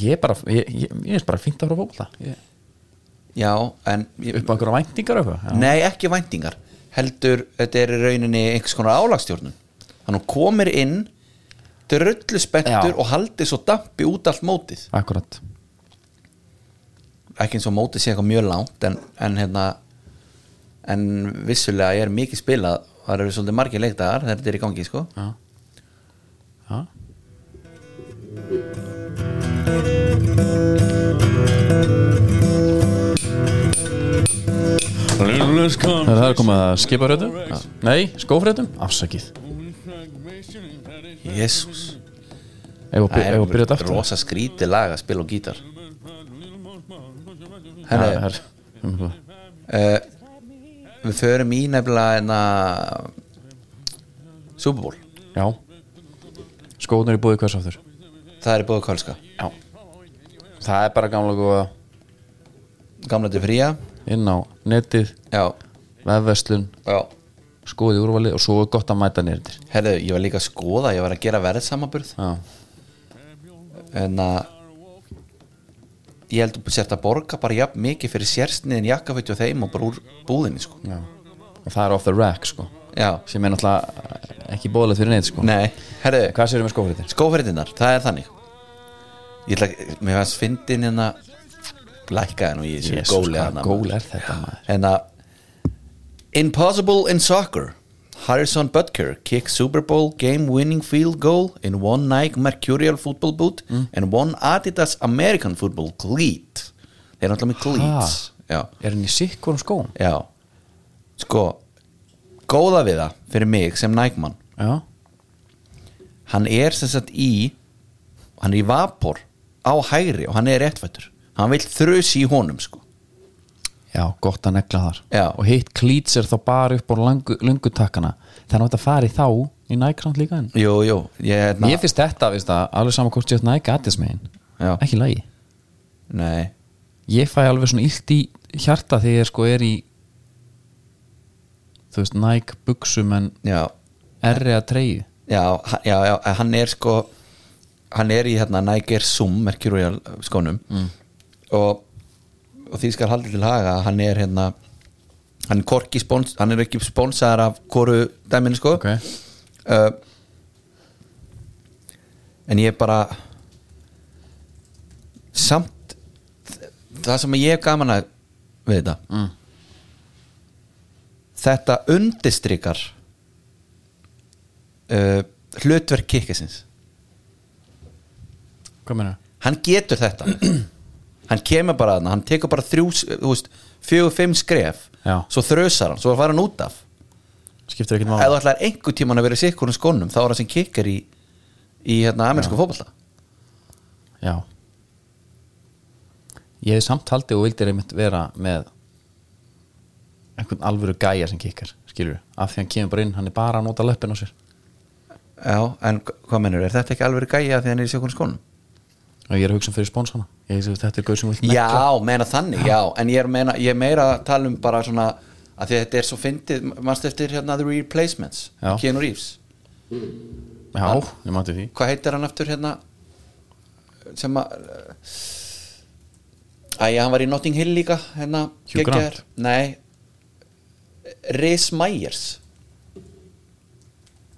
ég er bara, ég, ég, ég er bara fínt að frá fólta upp
Já, en ég,
á okkur væntingar og eitthvað já.
Nei, ekki væntingar Heldur, þetta er í rauninni einhvers konar álagstjórnun Þannig hún komir inn Drullu spettur
Já.
og haldið svo dampi út allt mótið
akkurat,
Ekki eins og mótið sé eitthvað mjög langt En, en hérna En vissulega er mikið spilað Það eru svolítið margir leikdagar þegar þetta er í gangi sko.
já Það er komið að skiparöðum? Nei, skófröðum? Afsakið
Jésús
Ef að by-
Það
ef að byrja þetta
er
aftur
rosa skrítið lag að spila og gítar
Það
Herri,
er- Mhm.
eh, Við förum í nefnilega hérna, enna Superból
Já Skóðnur í búið hvers aftur
Það er búið kölska
Já Það er bara gamla góða
Gamla til fría
inn á netið,
Já,
vefverslun
já
skoðið úrvalið og svo er gott að mæta nýr til
Herðu, ég var líka að skoða, ég var að gera verðsamaburð
Já,
En að Ég held að sért að borga bara jafn mikið fyrir sérsniðin jakkafætti og þeim og bara úr búðinni sko
já Og það er off the rack sko
Já,
sem er náttúrulega ekki bóðilegt fyrir neitt sko
nei, herðu
Hvað sérum við skófréttir?
skófréttinnar, það er þannig ég ætla ekki, mér fannst fyndin hérna lækkaði nú í þessu
Jesus,
góli
hvaða
hana,
gól
maður.
er sko, þetta, maður?
hérna Impossible in soccer Harrison Butker kicked Super Bowl game winning field goal in one Nike Mercurial football boot and one Adidas American football cleat þeir eru alltaf með cleats já,
Er hann í sikkur um skóum?
já sko, góða við það fyrir mig sem Nike mann
Já
hann er sem sagt í hann er í vapor á hægri og hann er réttfættur hann vil þrösi í honum sko
Já, gott að negla þar
Já.
Og hitt klíts er þá bara upp á langu, lungutakkana Þannig að þetta fari þá í nækrand líka en
jú, jú, ég hérna
Mér finnst þetta, veist það, alveg saman hvort ég næg aðeins megin
Já.
Ekki í lagi
nei,
Ég fæ alveg svona illt í hjarta þegar ég sko er í Þú veist, næg buksum en
já,
erri að treyju
já, hann- já, já en hann er sko hann er í hérna Niger Zoom Mercurial eh, skónum mm. og, og því skal haldið til haga að hann er hérna hann er, hvorki spons, hann er ekki sponsaðar af hvoru dæminu sko
Ok.
uh, en ég bara samt það sem ég hef gaman að við þetta mm. þetta undistrykar uh, hlutverk kikkisins
Hvað meina?
hann getur þetta hann kemur bara að hann tekur bara þrjú, s- þú veist, fjögur, fimm skref
Já.
svo þrösar hann, svo fara hann út af
Skiptir ekkert
ef
máli
þú ætlar einhver tíman að vera í sikkurum skónum þá er það sem kikkar í, í hérna, amerísku fótbolta
Já Ég hef samt haldið og vildir einmitt vera með einhvern alvöru gæja sem kikkar skilur af því hann kemur bara inn, hann er bara að nota löppin á sér
já, en hva- hvað mennur, er þetta ekki alveg gæja því hann er í sikkurum skónum?
og ég er að hugsa um fyrir sponsana ég hef þetta er gauð sem vilt negla
já, meina þannig, já, en ég er, meina, ég er meira að tala um bara svona að því að þetta er svo fyndið, mannst eftir hérna The Replacements,
Já.
Keanu Reeves
já, ég mátti því
hvað heitir hann aftur hérna sem að æja, hann var í Notting Hill líka hérna,
Hugh Grant.
geggjaður. nei Rhys Myers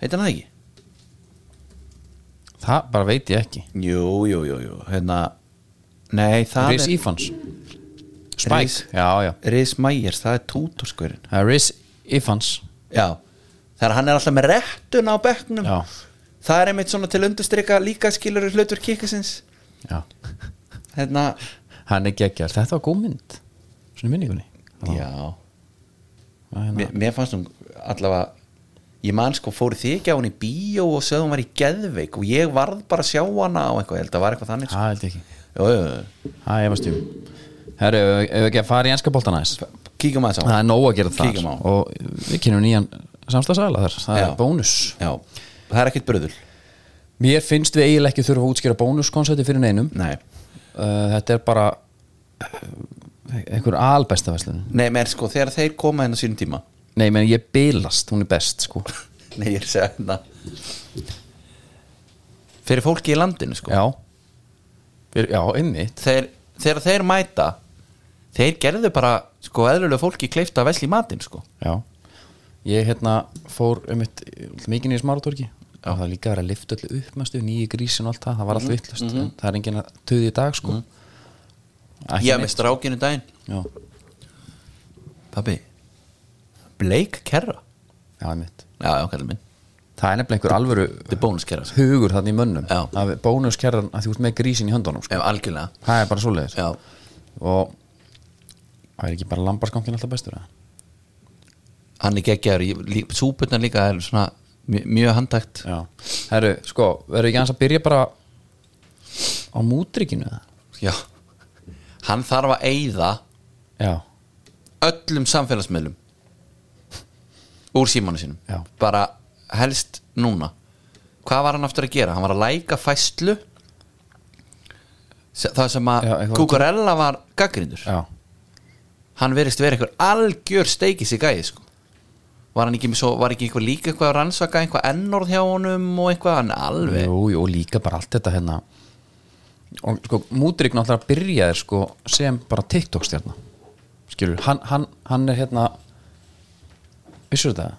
heitir hann það ekki?
það bara veit ég ekki
jú, jú, jú, jú, hérna nei, það
Rhys Ifans Spike,
Rhys-
já, já
er Rhys Myers, það er tútorskverinn
Það er Rhys Ifans
já, þegar hann er alltaf með rettun á bekknum
Já.
það er einmitt svona til undirstrika líka skilur hlutur kikisins
já.
hérna,
hann er geggjar, þetta var góð mynd svona í minningunni
já
Það var hérna.
mér, mér fannst hún allavega ég man sko fóru þið ekki á hann í bíó og sögðum hann var í geðveik og ég varð bara að sjá hana á eitthvað, ég held að það var eitthvað þannig sko.
það held ég ekki
Jú, jú, jú.
það er vastjum um. herru, ef ef við ekki að fara í enska boltan aðeins
kíkjum aðeins á
það er nóg að gera
Kíkjum á.
þar og við kynum nýjan samstagsæla þar, það
Já.
er bónus
Já, það er ekkert bröðul
mér finnst við eiginlega ekki þurfa að útskýra bónuskoncepti fyrir neinum
Nei,
uh, þetta er bara uh, einhver albesta verslun
nei, menn sko, þegar þeir koma hennar sínum tíma
nei, menn ég bilast, hún er best sko
Nei, ég er að segja hérna Fyrir fólki í landinu sko
já Fyrir- já, einmitt
þeir, Þegar þeir mæta Þeir gerðu bara sko eðlulega fólki kleift að vesli matinn sko
já. ég hérna fór um eitt mikið nýjum smáratorki og það er líka að vera að lifta öllu upp mestu, nýju grísin og allt það, það var allt vittlust mm það er enginn að töði í dag sko Ekki
Ég er
neitt.
með strákinu daginn
já,
Pappi Blake Kerra
já, einmitt
Já, já, kallum minn
það er nefnilega einhver alvöru
Þetta er bónuskerra sko
hugur þannig í mönnum
Já.
að bónuskerran að þú ert með grísin í höndunum sko.
Já, algjörlega
það er bara svoleiðis
Já,
og það er ekki bara lambarskankin alltaf bestur eða?
hann er geggjaður Súputnar líka er svona mjö- mjög handtækt
já, herru, sko, verður ekki aðeins að byrja bara á mútrykinu eða?
Já Hann þarf að eyða
já,
öllum samfélagsmiðlum úr símanu sínum
Já.
bara helst núna hvað var hann aftur að gera? hann var að læka fæslu Se- það sem að
Já, eitthvað-
Kukurella var gaggrindur
já
hann verist verið einhver algjör steikis í gæði sko. var hann ekki, með svo, var ekki einhver líka eitthvað að rannsaka einhver ennorð hjá honum og eitthvað hann er alveg
Jú, jú, og líka bara allt þetta hérna og sko, Múdrik náttúrulega byrjaðir sko sem bara TikTok stjarnar skilur, hann, hann, hann er hérna vissur þetta?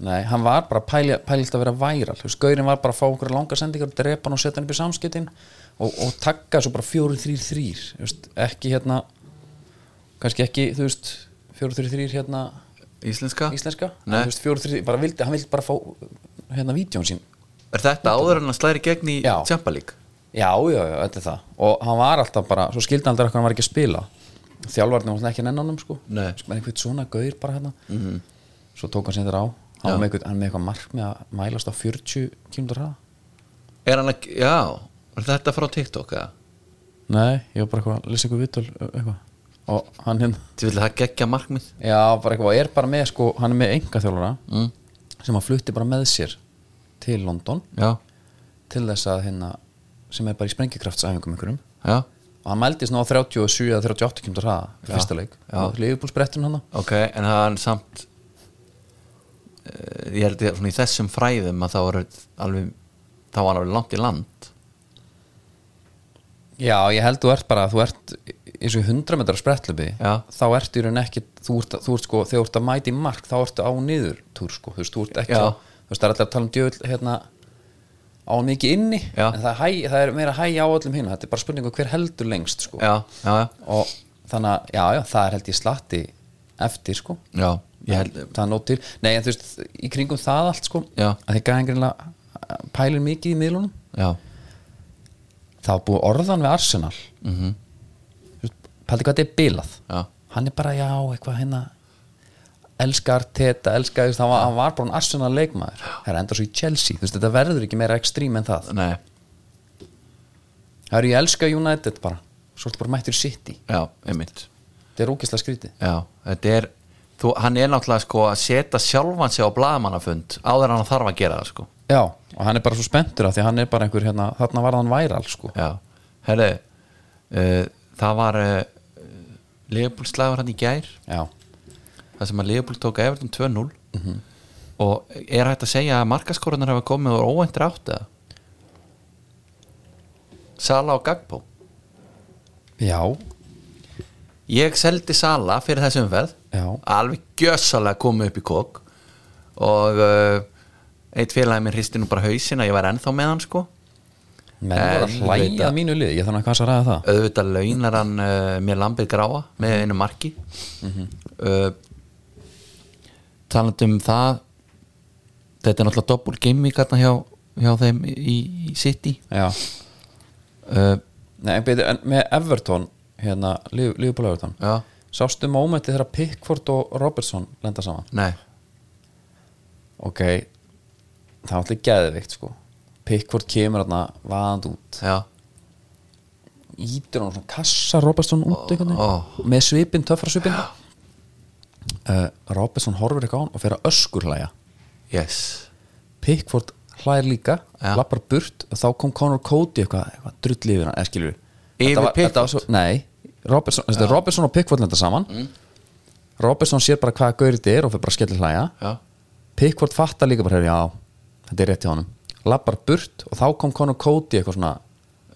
Nei.
hann var bara pæli- pælilt að vera væral þú veist, gaurinn var bara að fá einhverja langa sendingar drepa hann og setja hann upp í samskiptin og, og takka svo bara fjóru, þrýr, þrýr veist, ekki hérna kannski ekki, þú veist, fjóru, þrýr, þrýr hérna
íslenska?
íslenska, en,
Nei.
þú veist, fjóru, þrýr, bara vildi hann vildi bara fá hérna vídjón sín
er þetta áður en hann slæri gegn í
Já.
tjampalík?
Já, já, já, þetta er það og hann var alltaf bara, svo skildi hann aldrei að hann var ekki að spila þjálfarnir var ekki að nenna honum sko
Nei. Mhm.
sko, með einhvern svona gaur bara hérna -hmm. svo tók hann sér á hann var með eitthvað, hann með eitthvað mark með að mælast á 40 km hraða
er hann að, já, er þetta frá TikTok eða?
Nei, ég var bara eitthvað, að lesa eitthvað vitul eitthvað. og hann hérna
Þið vilja það geggja markmið?
Já, bara eitthvað, er bara með sko, hann er með enga þjálfara mm. sem hann flutti bara með sér til London
Já,
til þess að hérna sem er bara í sprengikraftsæfingum einhverjum
já,
og hann mældist nú á 37 eða 38 kemur hraða í fyrsta leik
já.
og Liverpool-spretturinn hann
ok, en það er samt uh, ég held ég svona í þessum fræðum að það var alveg það var alveg langt í land
já, ég held þú ert bara þú ert eins og í 100 metrar spretlubi
Já.
þá ertu í raun ekki þú ert, þú ert sko, þegar þú ert að mæta í mark þá ertu á niður túr sko, þú veist, þú ert ekki
Já.
að- þú veist, það er allir að tala um djöfull hérna á mikið inni
Já.
en það, hæ, það er meira hæg á öllum hinn þetta er bara spurning um hver heldur lengst sko
já, já, já,
og þannig að, já, já, það er held ég slatti eftir sko
já ég held,
það er nóg til nei en þú veist í kringum það allt sko
Já.
að þið gæðin greinlega pælir mikið í miðlunum
já,
það var búið orðan við Arsenal mm -hmm. pældi hvað þetta er bilað
já,
hann er bara já eitthvað hérna elskar teta, elskar þú veist, hann var, hann var bara en Arsenal leikmaður það er enda svo í Chelsea þú veist þetta verður ekki meira ekstrím en það
nei
það eru ég elska United bara svo ertu bara mættur í City
já, einmitt,
þetta er ógislega skrítið
já, þetta er þú, hann er náttúrulega sko að setja sjálfan sig á blaðamannafund áður en hann þarf að gera það sko
já og hann er bara svo spenntur af því að hann er bara einhver hérna þarna var hann væral sko
já, herri uh, það var uh, leifbúlslagur hann í gær
já
það sem að Leopold tók Everton 2-0 og er hægt að segja að markaskorunar hafa komið og óvæntir átt eða Sala og Gagbo
já
ég seldi Sala fyrir þessu umferð
Já.
alveg gjössalega komið upp í kók og uh, eitt félagi minn hristi nú bara hausin að ég var ennþá með hann sko
menn var að
En, veit
hlæja
að-
að mínu liði, ég þarf að hvað að ræða það
auðvitað launar hann uh, með lambið gráa með einu marki uh, talandi um það þetta er náttúrulega doppul gaming hérna hjá, hjá þeim í, í City
já,
uh,
Nei, en betur, en með Everton hérna, Liverpool Everton
já,
sástu mómenti þegar Pickford og Robertson lenda saman
nei
ok, það er alltaf geðveikt sko Pickford kemur þarna vaðand út
já,
ítir hann svona kassa Robertson út einhvern
Ó.
veginn með svipin, töffra svipin uh, Robertson horfir eitthvað á hann og fer að öskurlæja
yes
Pickford hlæðir líka
Já.
lappar burt og þá kom Conor Cody eitthvað, eitthvað drull yfir hann, er skilur
Yfir Pickford? Mm.
Svo, nei, Robertson, þessi, Robertson og Pickford lenda saman Robertson sér bara hvaða gaurið er og fer bara að skellir hlæja
já,
Pickford fattar líka bara, já, þetta er rétt hjá honum lappar burt og þá kom Conor Cody eitthvað svona,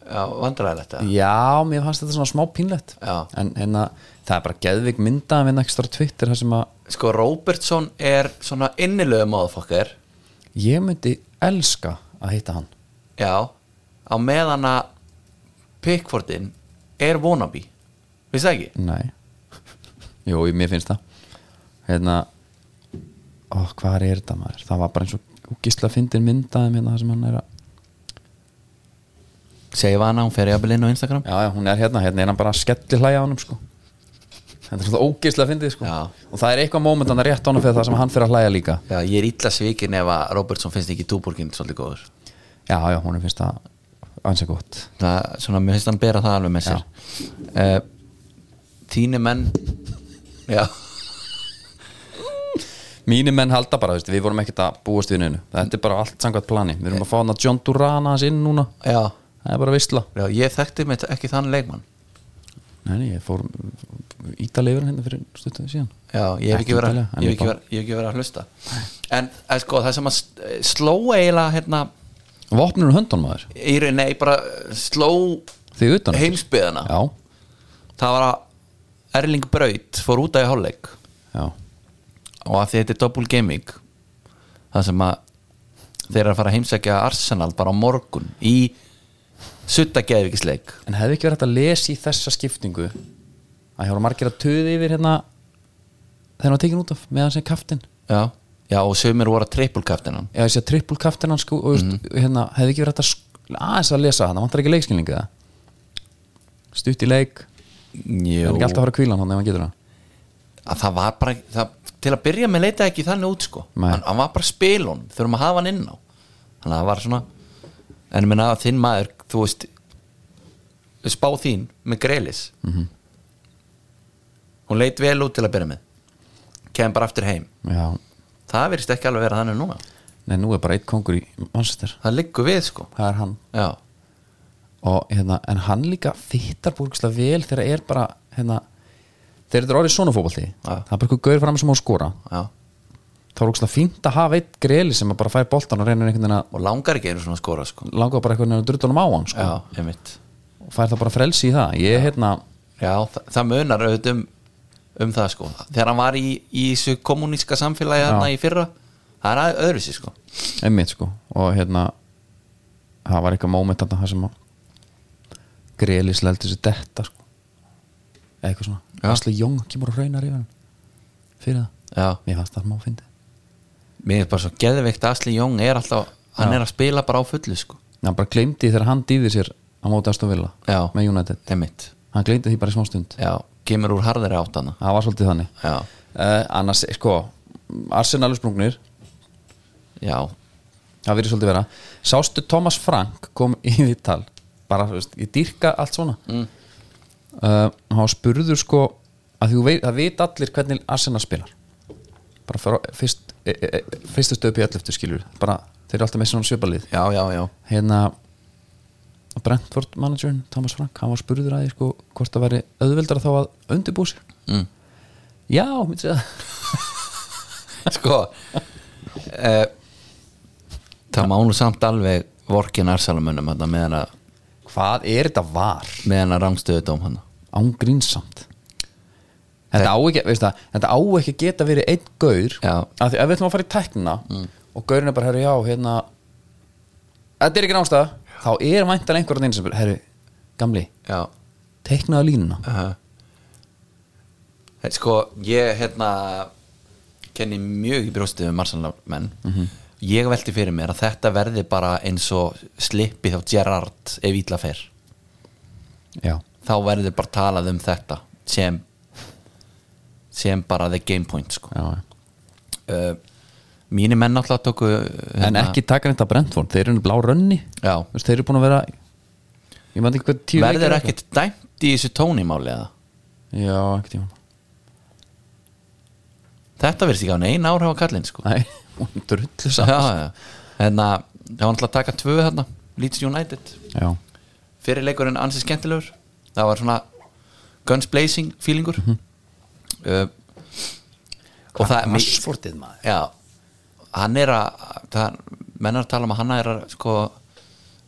já vandræðilegt eða?
já, mér fannst þetta svona smá pínlegt
Já.
en hérna, það er bara geðvik mynda að vinna ekki stóra Twitter þar sem að
sko Robertson er svona innilögu móðfokkar
ég myndi elska að hitta hann
já, á meðan að Pickfordin er wannabe veist það ekki?
Nei Jú, ég- mér finnst það Hérna Ó, hvað er þetta maður? Það var bara eins og gísla fyndin myndaðum hérna það sem hann er að
Seifa hana, hún fer jafnvel inn á Instagram
Já, já, hún er hérna, hérna er hann bara að skelli hlæja á honum sko Þetta er svona ógísla fyndið sko
Já.
Og það er eitthvað moment hann er rétt á honum fyrir það sem hann fyrir að hlæja líka
Já, ég er illa svikin ef að Robertson finnst ekki túborgin svolítið góður
Já, já, hún finnst það ansið gott
það, svona, mér finnst hann bera það alveg með sér uh, Þínu menn Já,
Mínir menn halda bara, veist, við vorum ekkert að búast við neinu Þetta er bara allt samkvæmt plani Við erum að fá hann að John Durana hans inn núna
já,
Það er bara veistla
já ég þekkti mig ekki þann leikmann
Nei, nei, ég fór ítalifurinn hérna fyrir stuttu síðan
Já, ég hef
Ekki
ekki verið
endilega, en
ég hef
ég
ekki
bara-
verið- ég hef ekki verið að hlusta En eh, sko, það sem að s- eh, sló eiginlega hérna,
Vopnir um höndun maður,
í raun, nei, bara eh, sló
því utan
heimsbyðina
Já,
Það var að Erling Braut fór út af í hálfleik
já,
og að því þetta er double gaming það sem að þeir eru að fara að heimsækja Arsenal bara á morgun í suttageðvikisleik
en hefði ekki verið hægt að lesa í þessa skiptingu að ég voru margir að töði yfir hérna þegar hann var tekin út af með hans er kaftin
já. já, og sömur voru að triple captainan
eða þessi að trippul kaftin hans sko, og, mm.
Mhm.
hérna, hefði ekki verið hægt að sk- aðeins að lesa hann, það vantar ekki leikskilningu það stutt í leik það
Jú,
er ekki alltaf að fara að kvíla hann ef hann getur það
að það var bara það, til að byrja með leita ekki þannig út sko
Nei.
hann, hann var bara spilun, þurfum að hafa hann inn á þannig að það var svona en ég minna að þinn maður, þú veist spá þín með Grelis -hmm. hún leit vel út til að byrja með kem bara aftur heim
já,
það verist ekki alveg vera þannig núna
nei nú er bara eitt kongur í Manchester,
það liggur við sko
það er hann
já,
og, hérna, en hann líka fittar búrkslega vel þegar er bara hérna, þegar þetta er orðið svona fótbolti
Já.
það er bara eitthvað gaur fram sem á að skora
já.
þá er ógstlega fínt að hafa eitt greli sem að bara fær boltan og reynir einhvern veginn að
og langar ekki einu svona að skora sko Mm.
langa bara einhvern veginn að druttunum á hann sko.
já, einmitt
og fær það bara frelsi í það ég, hérna,
Já, þa það munar auðvitað um, um það sko Þegar hann var í, í þessu kommuníska samfélagi þarna í fyrra Það er öðruvísi sko
einmitt sko og hérna það var eitthvað moment þarna þar sem að greli sleldi þessu detta sko Eða eitthvað svona
Já.
Asli Jóng kemur og raunar yfir hann fyrir það,
Já,
mér fannst það má fyndi
mér er bara svo geðveikt að Asli Jón er alltaf Hann er að spila bara á fullu sko
hann bara gleymdi þegar hann dýði sér á móti Aston Villa
Já.
með United
Einmitt,
hann gleymdi því bara í smá stund
já, kemur úr harðari áttana
það var svolítið þannig
Já,
uh, annars, sko, Arsenal er sprungnir
já,
það verið svolítið vera sástu Thomas Frank kom í því tal bara, þú veist, ég dýrka allt svona mm. uh, hann spurður sko að þú veit, það veit allir hvernig Arsenal spilar bara frá, fyrst, e, e, e, fyrstu stöðu pjall eftir skilur bara, þeir eru alltaf með svona sjöbalið
já, já, já
hérna Brentford managerinn, Thomas Frank hann var spurður að því sko hvort það væri auðveldara þá að undirbúi sér mm. já, myndi segja það
Sko uh, Það má nú samt alveg vorkin Arsalamönnum hérna, meðan að
hvað er þetta var
meðan að rangstöðu dóm hann
ángrinsamt þetta á ekki, veist það, þetta á ekki að geta verið einn gaur
Já. Mm.
af því ef við ætlum að fara í tæknina og gaurin er bara, herru, já, hérna þetta er ekki nástað þá er væntan einhverjum einn sem bara, herru, gamli,
Já,
teiknaðu línuna
Aha. Eh, Sko, ég hérna kenni mjög í brjóstið um marsanlamenn ég velti fyrir mér að þetta verði bara eins og slippi hjá Gerard ef ítla fer
já,
þá verður bara talað um þetta sem sem bara the game point sko.
já,
uh, mínir menn alltaf tóku hérna,
en ekki taka þetta Brentford, þeir eru blá rönni
Já.
Þú veist, þeir eru búin að vera ég maður ekki hvað tíu
verður
leikir
ekkert dæmt í þessu tónimáli eða
eitthvað. já, ekkert tíma
þetta verðist ekki á neina áhrif á kallinn sko
nei, hún er drullu
já,
saman
já. en að það var alltaf að taka tvö þarna Leeds United
já,
fyrir leikurinn ansi skemmtilegur það var svona guns blazing feelingur
Mhm.
uh, og það
Rashfordið, maður.
já, hann er að það, menn er að tala um að hann er að sko,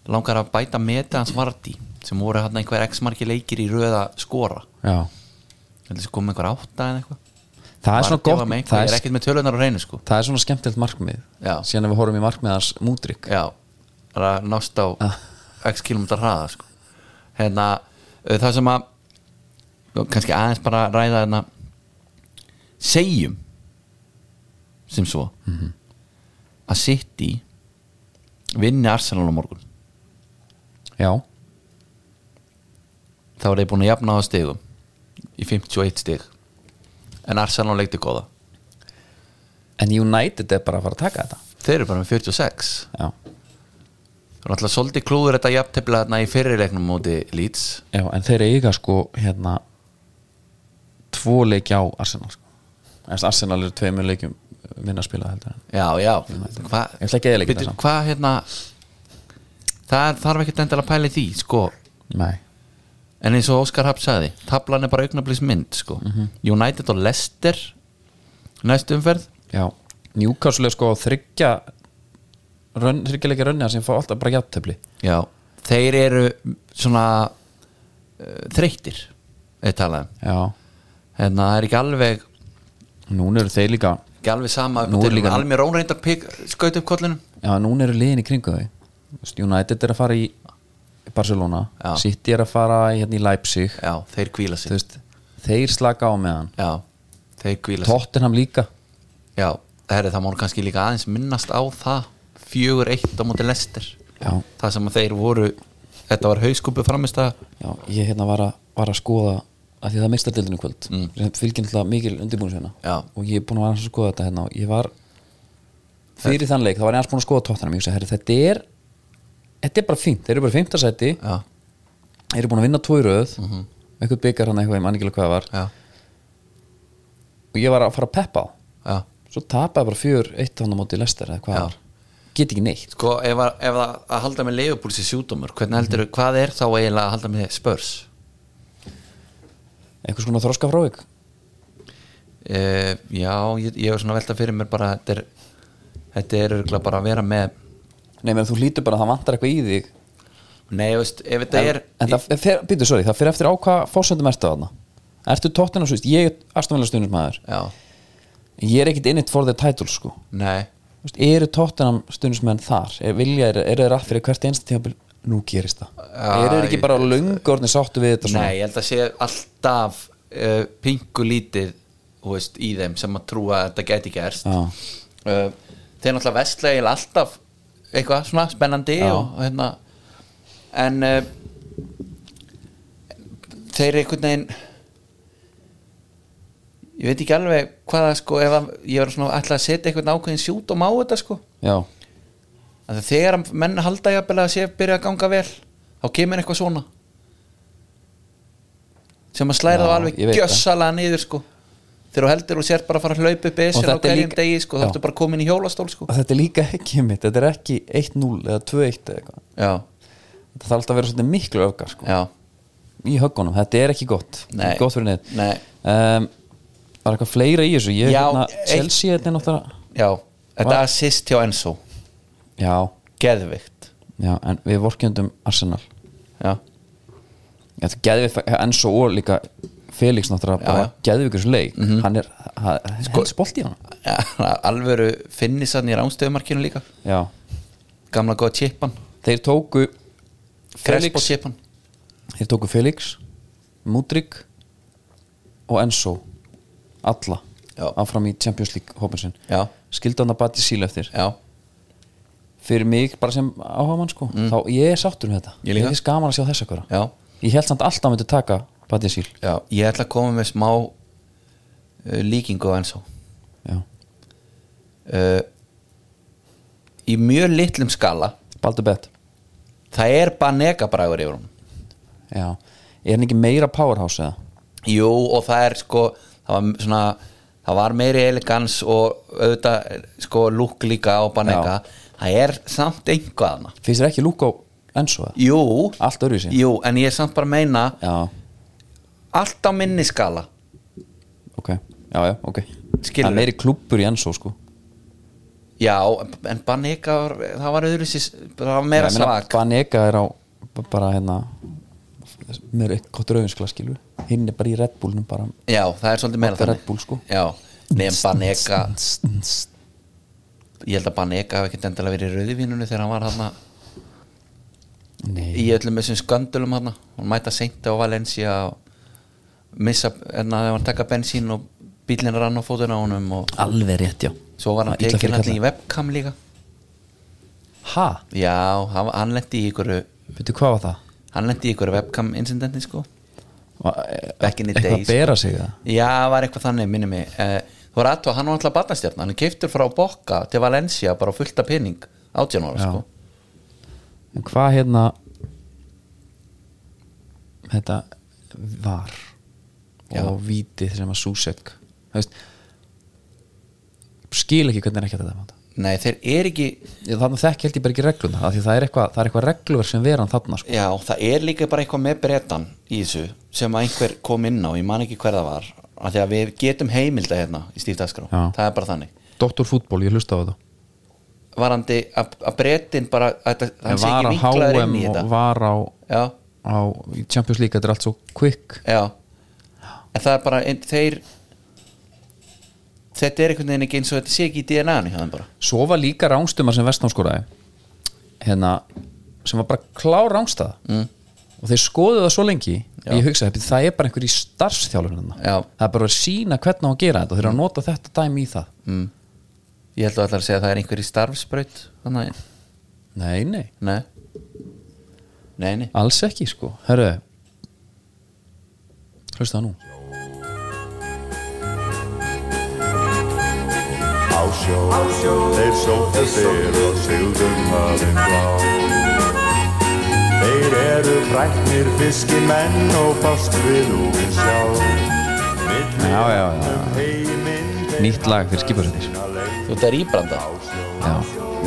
langar að bæta meta hans vardi sem voru hann einhver x-marki leikir í röða skora
já.
heldur þessi komið einhver átta en eitthvað
það er svona
Vardy var
gott
með einhver-
það
ég er
er,
ekkert með tölunar á reynu sko
það er svona skemmtilegt markmið
Já.
síðan ef við horfum í markmið hans múdrygg
já, það er að nást á
Ah.
x kilometrar hraða sko. hérna, uh, það sem að kannski aðeins bara ræða hérna, segjum sem svo
Mhm.
að City vinni Arsenal á morgun
já,
þá er þeir búin að jafna á stigum í 51 stig en Arsenal leikti góða
en United er bara að fara að taka þetta
þeir eru bara með 46
já,
það er alltaf svolítið klúður þetta jafntefla hérna í fyrirleiknum móti Leeds
já en þeir eiga sko hérna tvo leikja á Arsenal sko. Eðast, Arsenal eru tveimur leikjum minna að spila heldur en
Já, já Hva,
Ég ætla ekki að eyðileggja
Bíddu,
það samt.
Hvað hérna Það er- þarf ekkert endilega að pæla í því sko.
nei,
En eins og Óskar Hafn sagði Tablan er bara augnablís mynd sko.
Mhm.
United og Leicester Næst umferð
já, Newcastle er sko þryggja rönn, þryggja leikja rönnja sem fá alltaf bara játtöfli
já. Þeir eru svona uh, Þreyttir Þeir talaði
já,
Hérna það er ekki alveg
núna eru þeir líka
Ekki alveg sama
Nú er líka-
Almir Rón reyndar pik- skaut upp kollunum
já, núna eru liðin í kringu þau Þú veist, United er að fara í Barcelona,
Já.
City er að fara í, hérna, í Leipzig
Já, þeir
Þú
kvíla sig
veist, þeir slaka á meðan
Já, þeir kvíla sig
Tottenham líka
Já, herri, það má nú kannski líka aðeins minnast á það fjögur eitt á móti lester
já,
það sem að þeir voru þetta var hauskúpu framist að
já, ég hérna var að, var að skoða að því það mistar deildinu kvöld mm. sem fylgir náttúrulega mikil undirbúinsvinna
Já.
og ég er búin að vera aðeins að skoða þetta hérna og ég var fyrir þann leik, þá var ég aðeins búin að skoða Tottenham ég hugsa, herri, þetta er þetta er bara fínt, þeir eru bara fímtasæti
já,
þeir eru búin að vinna tvo í röð mm -hmm. eitthvað byggar hann eitthvað, ég mann ekki alveg hvað það var
já,
og ég var að fara að peppa á
já
svo tapaði bara fjör eitt hann á móti lestir eða hvað
Já.
það var, get ekki neitt
sko, ef, að, ef að, að halda með leifupúlsi sjúdómur hvernig heldur, hvað er þá eiginlega að halda með spörs
eitthvað svona þroska frávik
e, já, ég, ég er svona að velta fyrir mér bara þetta er, þetta er örugglega bara að vera með
Nei, menn þú hlýtur bara að það vantar eitthvað í þig
nei, þú veist, ef þetta er
En það fer, býtu, sorry, það fer eftir á hvað fórsöndum ertu þarna Ertu tóttina svo, ég er aðstofnilega stuðnismæður
já,
Ég er ekkit in it for the title, sko
nei,
Þú veist, Eru tóttinam stuðnismenn þar? Er, vilja, er, eru þeir að fyrir hvert einst tíma Nú gerist það
Já,
Eru þeir ekki
ég-
bara löngorni sáttu við þetta svona?
Nei, ég held að sé alltaf uh, pingu lítið veist, í þeim sem að trúa að þetta geti gerst
Já.
uh, Þeir náttúrulega vestlega alltaf eitthvað svona spennandi og, og hérna en uh, þeir einhvern veginn ég veit ekki alveg hvaða sko ef að, ég var svona alltaf að setja einhvern ákveðin sjúdóm á þetta sko
Já,
Af því að þegar að menn halda jafnvel að sé byrja að ganga vel þá kemur eitthvað svona sem að slæra
Já,
þá alveg
ég veit það.
gjössalega niður sko þegar þú heldur og sér bara að fara að hlaupa upp esir á
þetta er
hverjum
líka-
degi sko, þá
Já.
ertu bara komin í hjólastól sko
og þetta er líka ekki mitt Þetta er ekki 1-0 eða 2-1 eða eitthvað
já,
Þetta þarf alltaf að vera svona miklu öfgar, sko
já,
Í höggunum, þetta er ekki gott
Nei.
Gott fyrir neitt
Nei.
um, Var eitthvað fleira í þessu? Ég,
Já,
hérna,
eitt-
Chelsea, þetta er náttúrulega
já þetta
Var-
assist hjá Enzo,
Já,
geðvikt
Já, en við vorkjöndum Arsenal
já,
Þetta geði við enn svo og líka Felix náttúrulega
Já,
bara
já. Mhm.
geði við ykkur leik Hann er, hann sko, helst bolti í hann
Já, alvöru finnisarni í ránstöðumarkinu líka
Já,
gamla góða tjippan,
þeir tóku
krespo
Felix,
tjippan
þeir tóku Felix Mudrik og Enzo alla
Já.
áfram í Champions League hópin sinn
Já.
skildi hann að bati síl eftir
já,
fyrir mig bara sem áhamann sko þá ég er sáttur um þetta
Mhm. Ég líka.
er þess gaman að sjá þess akkura
já
ég held samt alltaf að myndi taka bati síl
Já, ég ætla að koma með smá uh, líkingu eins og
já,
uh, í mjög litlum skala
Baldur Bett
það er banega bragur yfir hún
Já, er hann ekki meira powerhouse eða?
jú og það er sko það var svona það var meiri elegans og auðvitað sko lúk líka á banega það er samt einhvaðna
Finnst þér ekki Lúko Enso eða?
jú,
Allt öðruvísi.
jú en ég er samt bara að meina
Já,
allt á minni skala
ok, já, já, ok Það
Skilurðu?
er meiri klúppur í Enso sko
já en banega var, það var öðru það var meira svag
Banega er á b- bara hérna með eitt gott rauðinskla skilur hinn er bara í Red Bullnum bara
já það er svolítið meira
Þetta er Red Bull, sko.
já nefn banega
Tss, tss, tss.
ég held að Banega hafi ekkert endilega verið í rauðivínunni þegar hann var hann í
Nei,
öllum þessum sköndulum hann hún mæta seinti á Valencia og missa, en að hann taka bensín og bílinn rann á fótuna á honum og
alveg rétt já
svo var hann
Það var illa
tekinn
fyrir
allir í webcam líka
Ha?
já, hann, hann lendi í ykkur
Veitu hvað var það?
hann lendi í ykkur webcam incidenti sko
Va- e-
Back in the
Eitthvað
days. sko.
að bera sig það
já, var eitthvað þannig, minni mig eh, þú var aðtóð, hann var alltaf batnastjarn hann er keiftur frá Bokka til Valencia bara fullta pening, 18 ára
Já.
sko
En hvað hérna Þetta var
Já.
og vítið sem að Susek Það veist skil ekki hvernig er ekki að þetta
nei, þeir er ekki
Ég- þarna þekk held ég bara ekki regluna af því það er eitthvað, það er eitthvað reglur sem veran þarna sko.
Já, það er líka bara eitthvað með breytan í þessu sem að einhver kom inn á, ég man ekki hver það var af því að við getum heimilda hérna í stífdagskrá,
Já.
það er bara þannig
Dr. Fútból, ég hlusta á þetta
varandi að, að breytin bara að, þetta- hann
Ég
sé
var á
ekki vinklaður
HM
inn í þetta
og var á,
Já,
á í Champions League, þetta er allt svo quick
já en það er bara, en, þeir þetta er einhvern veginn ekki eins og þetta sé ekki í DNA-ni hjá þeim bara
svo var líka rángstumar sem Vestnám skoraði hérna, sem var bara klár rángstað mm. og þeir skoðu það svo lengi
Já.
að ég hugsaði, "Heyrðu, það er bara einhver í starfsþjálfun
Já.
það er bara að sína hvernig á að gera þetta og þeir eru að nota þetta dæmi í það mm.
ég held að allar að segja að það er einhver í starfsbraut þannig,
nei, nei,
nei nei, nei,
alls ekki sko herru hlusta það nú
á sjó, þeir sóttu fyrr og sigðum hafinn blá. Þeir eru fræknir fiskimenn og fást við úfinn sjá.
Já, já, já. Nýtt lag fyrir skipasveitir.
þú ert að rýbranda
Já,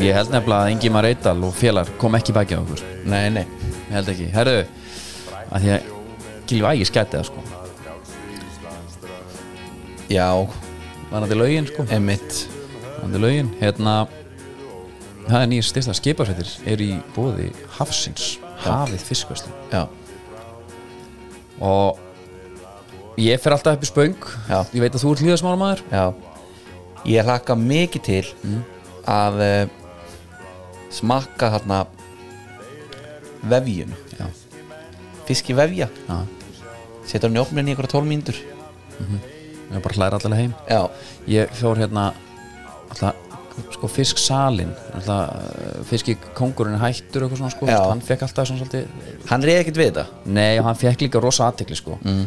ég held nefnilega að Ingi Mar Eidal og félar kom ekki bækja á okkur
nei, nei,
Ég held ekki, herru að því að Gilvi Ægir skæti það sko
já
Varandi lögin sko
Emmitt
Varandi lögin, hérna Það er nýjir styrsta skipasveitir er í bóði hafsins Hafið fiskvæslu
Já,
Og ég fer alltaf upp í spöng
Já.
Ég veit að þú ert líðasmála maður
já Ég hlakka mikið til að uh, smakka þarna vefjun
Já.
Fiski vefja
Já,
Setur hann í opnin í einhverja 12 mínútur
ég bara hlæra allavega heim
Já,
ég fór hérna alltaf, sko fisksalin alltaf, fiski kongurinn hættur og eitthvað svona sko,
Já.
hann fekk alltaf svona svolítið
hann reyði ekkert við þetta
nei og hann fekk líka rosa aðtekli sko mm.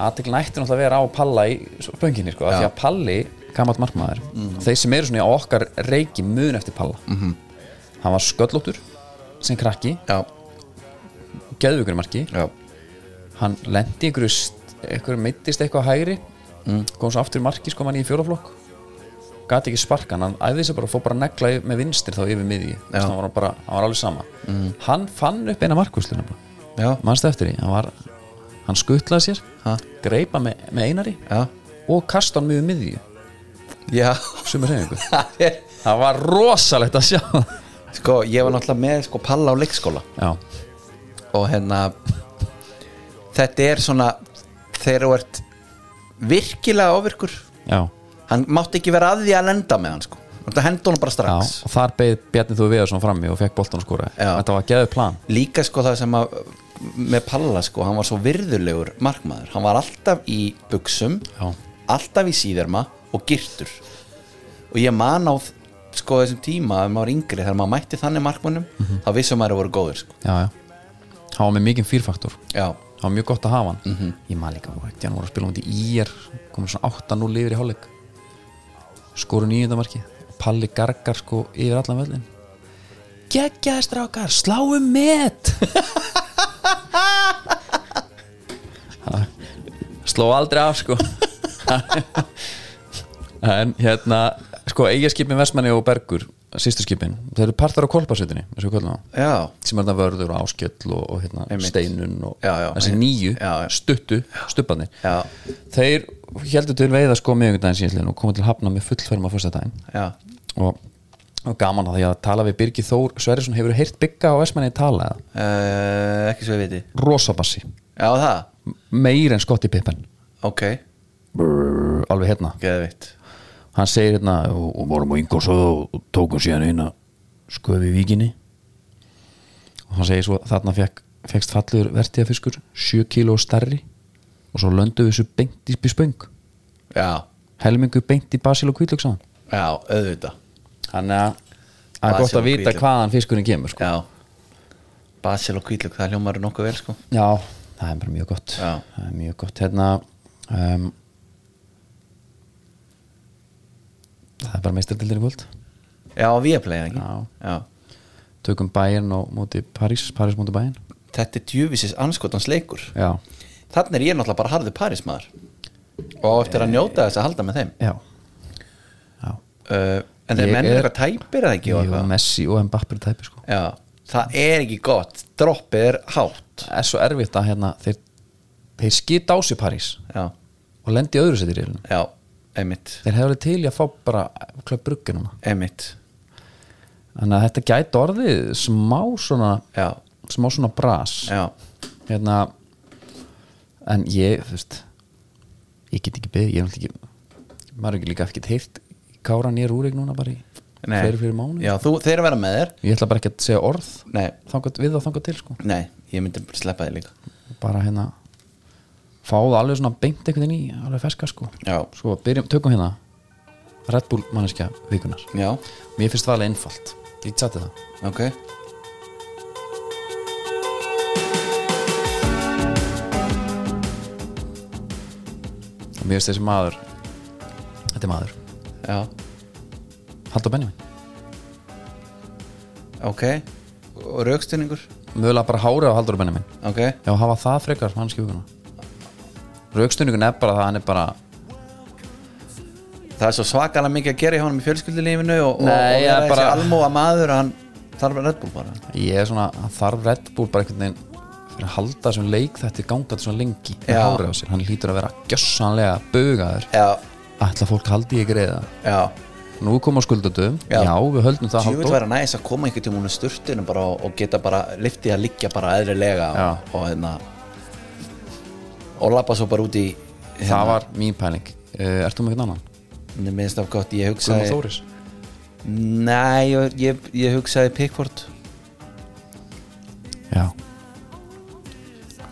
aðteklin ætti náttúrulega að vera á palla í spönginni sko, af
Já. Mm.
því að palli gamalt markmaður, þeir sem eru svona á okkar reiki mun eftir palla -hmm.
Mhm.
hann var sköllóttur sem krakki,
Já,
geðvíkur marki
já,
hann lendi ykkur ykkur meittist eitthvað á hægri
Mm.
kom svo aftur í marki sko mann í fjólaflokk gati ekki sparkan, hann æði þessi bara og fór bara að negla í- með vinstri þá yfir miðji Þess vegna var hann, bara, hann var alveg sama
Mm.
hann fann upp eina markvursluna bara
já,
mannstu eftir því, hann var hann skuttlaði sér,
Ha?
greipa með, með einari
já
og kasta hann miður miðju
Já,
sem er reyningu
það er
það var rosalegt að sjá það.
Sko, ég var náttúrulega með sko palla á leikskóla
já,
og hérna þetta er svona þegar þú ert virkilega ofirkur
já,
hann mátti ekki vera að því að lenda með hann sko hann hendur hann bara
já
strax
og þar beðið Bjarni þú við svona frammi og fekk boltan og skora
Já.
þetta var geðið plan
líka sko það sem að með Palla sko, hann var svo virðulegur markmaður, hann var alltaf í buksum,
Já.
alltaf í síðarma og girtur og ég man á þ- sko þessum tíma ef maður var yngri, þegar maður mætti þannig markmannum
Mhm.
þá vissum maður að voru góðir sko
já, já, hann var með mikið fyrfaktor
já,
það var mjög gott að hafa hann ég maður líka, hann voru að spila um þetta í IR komið svona 8-0 yfir í hálfleik skoru nýjöndamarki Palli gargar sko yfir allan völlin geggjaði strákar, sláum met Ha, sló aldrei af sko en hérna sko eigaskipin Vestmanni og Bergur sýsturskipin, þeir eru partar á kolpasveitinni eins og við köllum á
Já,
sem er þetta vörður og áskjöll og, og hérna,
Einmitt.
steinun og
Já, já.
þessi nýju
Já, já.
stuttu stubbanir
Já.
þeir heldur til veiða sko miðugdæðin síðan og komið til hafna með fullferma fyrstadaginn
já,
og, og gaman að því að tala við Birgi Þór Sverrisson hefur heyrt bygga á Vestmanni tala eða?
uh, ekki svo ég viti
rosabassi,
Já, það,
meir en skotti pippen
ok,
alveg hérna,
geðvitt
hann segir hérna og, og vorum á yngolsöðu og, og tókum síðan eina sköfi í víkinni og hann segir svo þarna fekk, fekkst fallegur vertíðafiskur 7 kíló starri og svo löndu við þessu beint í spöng
Já,
helmingu beint í basil og kvítlöks á hann
já, auðvitað
þannig að það er gott
Basil og
að vita
hvítlök.
hvaðan fiskurinn kemur sko.
Já, basil og kvítlug, það hljómar nokkuð vel sko
já, það er bara mjög gott
Já.
það er mjög gott hérna um, það er bara meistardildir í kvöld
Já, við að playa ekki
Já.
já.
tökum bæinn og móti París París móti bæinn
Þetta er djúvisis anskotans leikur
já,
Þannig er ég náttúrulega bara harði parísmaður Og á eftir að njóta þess að halda með þeim
já
uh, En þeir
Ég
menn
er-
er eitthvað tæpir eða ekki og
Jú,
eitthvað?
Messi og Mbappur tæpi sko
Já, það er ekki gott Droppið er hátt
það er svo erfitt að hérna þeir, þeir skita á sig París
Já,
og lendi í öðru sæti í reilinu
já, einmitt
þeir hefur til í að fá bara klöp brugge núna
Einmitt,
þannig að þetta gæti orðið smá svona
já,
smá svona bras
já
hérna en ég, þú veist ég get ekki beðið, ég er náttúrulega ekki maður er ekki líka ekki heilt kára nýr úr núna bara í
Nei.
fleiri fyrir mánu
Já, þú, þeir vera með þér
ég ætla bara ekki að segja orð
Nei,
þangað, við þá þangað til sko
nei, ég myndi bara sleppa þér líka
bara hérna fá það alveg svona beint einhvern veginn í alveg ferska sko
Já.
svo byrjum, tökum hérna Red Bull manneskja vikunar
Já,
mér finnst það alveg einfalt ég tjátti það
ok
og mér finnst þessi maður þetta er maður
Já,
Haldur Benjamin
ok Og raukstunningur
mögulega bara hárið á Haldur Benjamin
Ok,
já hafa það frekar manneskja vikunar raukstunningun er bara það hann er bara
það er svo svakalega mikið að gera í honum í fjölskyldulífinu og, og,
Nei,
og
ég
vera
bara-
þessi almóa maður að hann þarf að Red Bull bara
ég er svona hann þarf Red Bull bara einhvern veginn fyrir að halda þessum leik þetta ganga svona lengi með
Já.
hárið á sér hann hlýtur að vera gjössanlega bugaður
Já,
ætla fólk haldi ég greiða
já
Nú kom á skuldadöfum
Já.
Já. við höldum það
Tjúvill
Halldór
væri næs að koma einhvern tímann úr sturtunum bara og, og geta bara liftið að liggja bara eðlilega
Já.
og, og hérna og lappa svo bara út í
Það var mín pæling uh, Ertu með eitthvað annan?
Mér minnst hérna, af gott, ég
Guðmund
hugsaði
Þóris
Nei, ég, ég, ég hugsaði Pickford
Já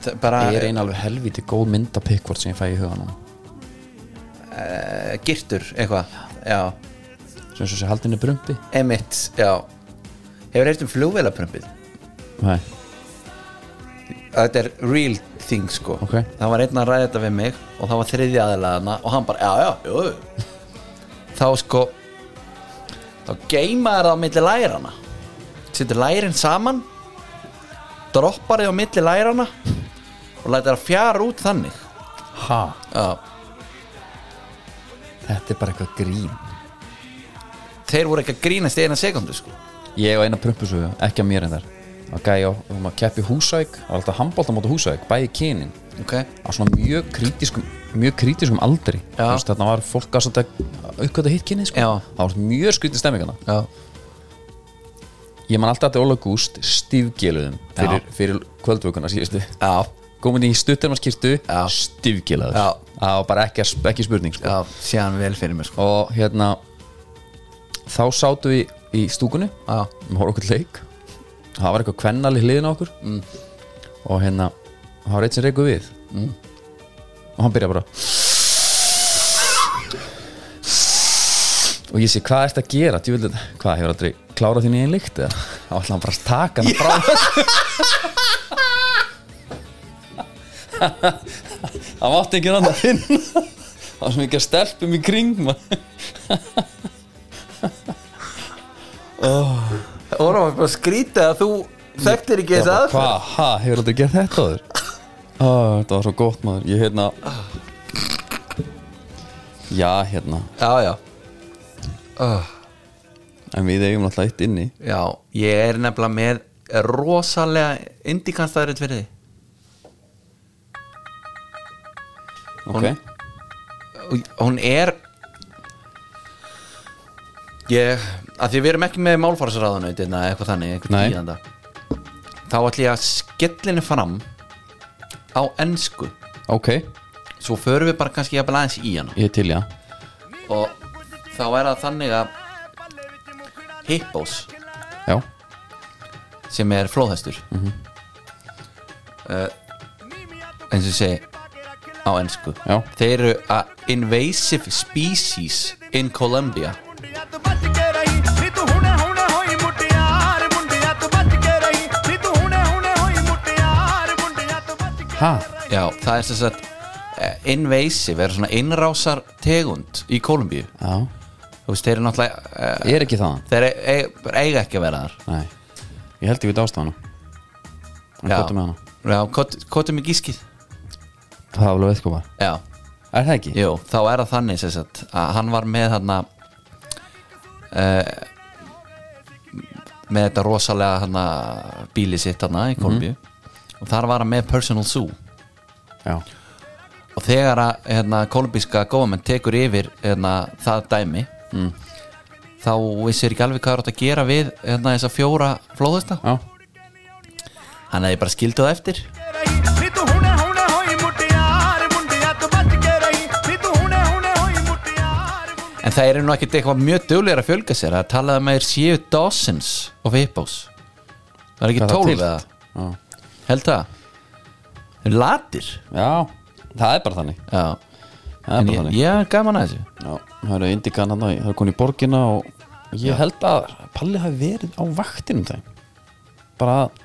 Það- bara
Ég er eina alveg helviti góð mynd af Pickford sem ég fæ í huga núna
eh, girtur eitthvað Já,
sem svo sé haldinni brumbi
emitt, já Hefur eitt um flugvélaprömpið?
Nei
þetta er real thing sko
Ok.
það var einn að ræða þetta við mig og það var þriðja aðlaðana og hann bara já já, jú þá sko þá geimaði það á milli lærana setur lærin saman droppar þið á milli lærana og lætir það fjara út þannig
Ha?
já.
Þetta er bara eitthvað grín
þeir voru ekki að grínast í eina sekundu sko
Ég og eina prumpusögu, ekki að mér en þar Það gæja og við höfum að keppi húsæk Það var alltaf handbólta móti húsæk, bæði kynin
ok,
á svona mjög krítiskum mjög krítiskum aldri
Já.
Þú veist, Þarna var fólk að aukvölda hitt kynið sko.
Já.
Það var mjög skrítið stemmingana
já,
Ég man alltaf að Óla Gúst stífgéluðum fyrir, fyrir kvöldvökunar síðustu
já,
Komin í stuttermaskirtu
Já.
stífgéluður
Já.
Það var bara ekki, að- ekki spurning sko.
já séðan vel fyrir mér sko
Og hérna Þá sátu við í stúkunni um
já,
Við horfum okkur leik Það var eitthvað kvennali hliðin á okkur mm. Og hérna Það var eitt sem reyku við mm. Og hann byrja bara Og ég sé, hvað ertu að gera? Djúvildu, hvað, hefur aldrei klárað þín í einn líkt? eða?" Þá ætla hann bara að taka hann frá Það mátti ekki rann að finna Það var svo mikið að stelpum í kring man.
voru að bara skrýta að þú þekktir ekki þess aðferð
Hvað, ha, hefur aldrei gert þetta áður? Ó, þetta var svo gott maður Ég hérna Já, hérna
Já, já
En við eigum alltaf eitt inni
Já, ég er nefnilega með rosalega indikanstarinn fyrir því
Ok,
Og Hún er Ég, að því við erum ekki með málfarsraðunauti eða eitthvað þannig, eitthvað
Nei.
tíðanda Þá ætlum ég að skellinni fram á ensku
ok,
Svo förum við bara kannski jafnvel aðeins í hana
ég er til já
Og þá er það þannig að Hippos
Já,
sem er flóðhestur mm
Mhm.
eins og ég segi á ennsku
Já.
þeir eru a invasive species in Colombia
ha,
já, það er sem sagt eh, invasive er svona innrásar tegund í Kolumbíu
já
þú veist, þeir eru náttúrulega eh,
Ég er ekki þaðan
þeir e- e- eiga ekki að vera þar
Nei, ég held ég við dástafana En
Já.
hvað með hana?
já, kvotum í gískið
Það var alveg veitkofa
já,
Er það ekki?
jú, þá er það þannig sem sagt að hann var með þarna uh, með þetta rosalega hana, bíli sitt hana í Kolumbíu og þar var hann með personal zoo
Já,
og þegar að hérna, kolumbíska government tekur yfir hérna, það dæmi þá vissir ekki alveg hvað er átt að gera við hérna, þessa fjóra flóðasta
já,
hann hefði bara skilduð eftir en það er nú ekkert eitthvað mjög duglegar að fjölga sér að talaði að maður séu dozens of hippos það er ekki
Hvað er það
tólf
til?
eða
já
held það Þeir eru latir
Já, það er bara þannig
já,
Það er
en
bara
ég,
þannig
ég er gaman að þessu
Já, það eru indikan hann það er konið í borgina og ég held að Palli hafi verið á vaktinum þeim bara að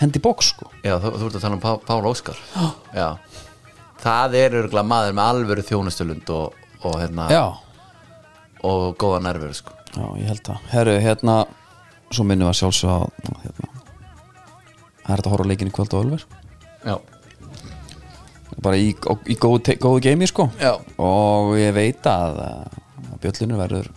hendi bóks sko
já, þú, þú ert að tala um Pá, Pál Óskar já, það er örgulega maður með alvöru þjónustulund og, og, hérna, og góða nervur sko.
já, ég held það Herru, hérna, svo minnum við að sjálfsög að hérna Það er þetta að horfa á leikinn í kvöld og ölver
já,
bara í, og- í góðu, te- góðu geimi sko
Já.
og ég veit að, að bjöllinu verður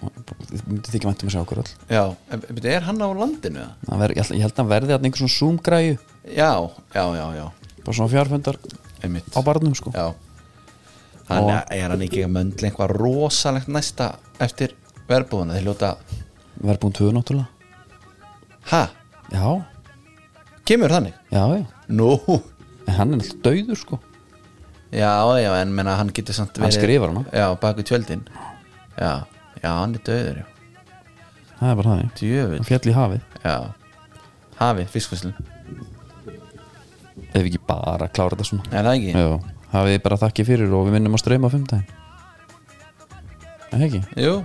þið myndi þykja mæntum að sjá okkur öll
já en, en er hann á landinu? eða?
Það verð, ég held- ég held að hann verði að einhver svona zoom-græju
já, já, já, já
bara svona fjárfundar
einmitt
á barnum sko
Já Hann er hann ekki að möndla eitthvað rosalegt næsta eftir verbúðuna þeir ljóta
verðbúin tvö náttúrulega
Ha?
Já,
Kemur þannig?
já, já
Nú
En hann er náttúrulega dauður sko
Já, já, en menna hann getur samt
Hann skrifar hana.
Já, baku tjöldin Já, já, hann er döður já
Það er bara þannig Hann
Djöfull
fjall í hafið
Já Hafi, fiskvíslun
Ef við ekki bara að klára þetta svona
Er það ekki?
Já, hafið þið bara þakkið fyrir og við minnum að streyma á fimmtæðin Það ekki?
Jú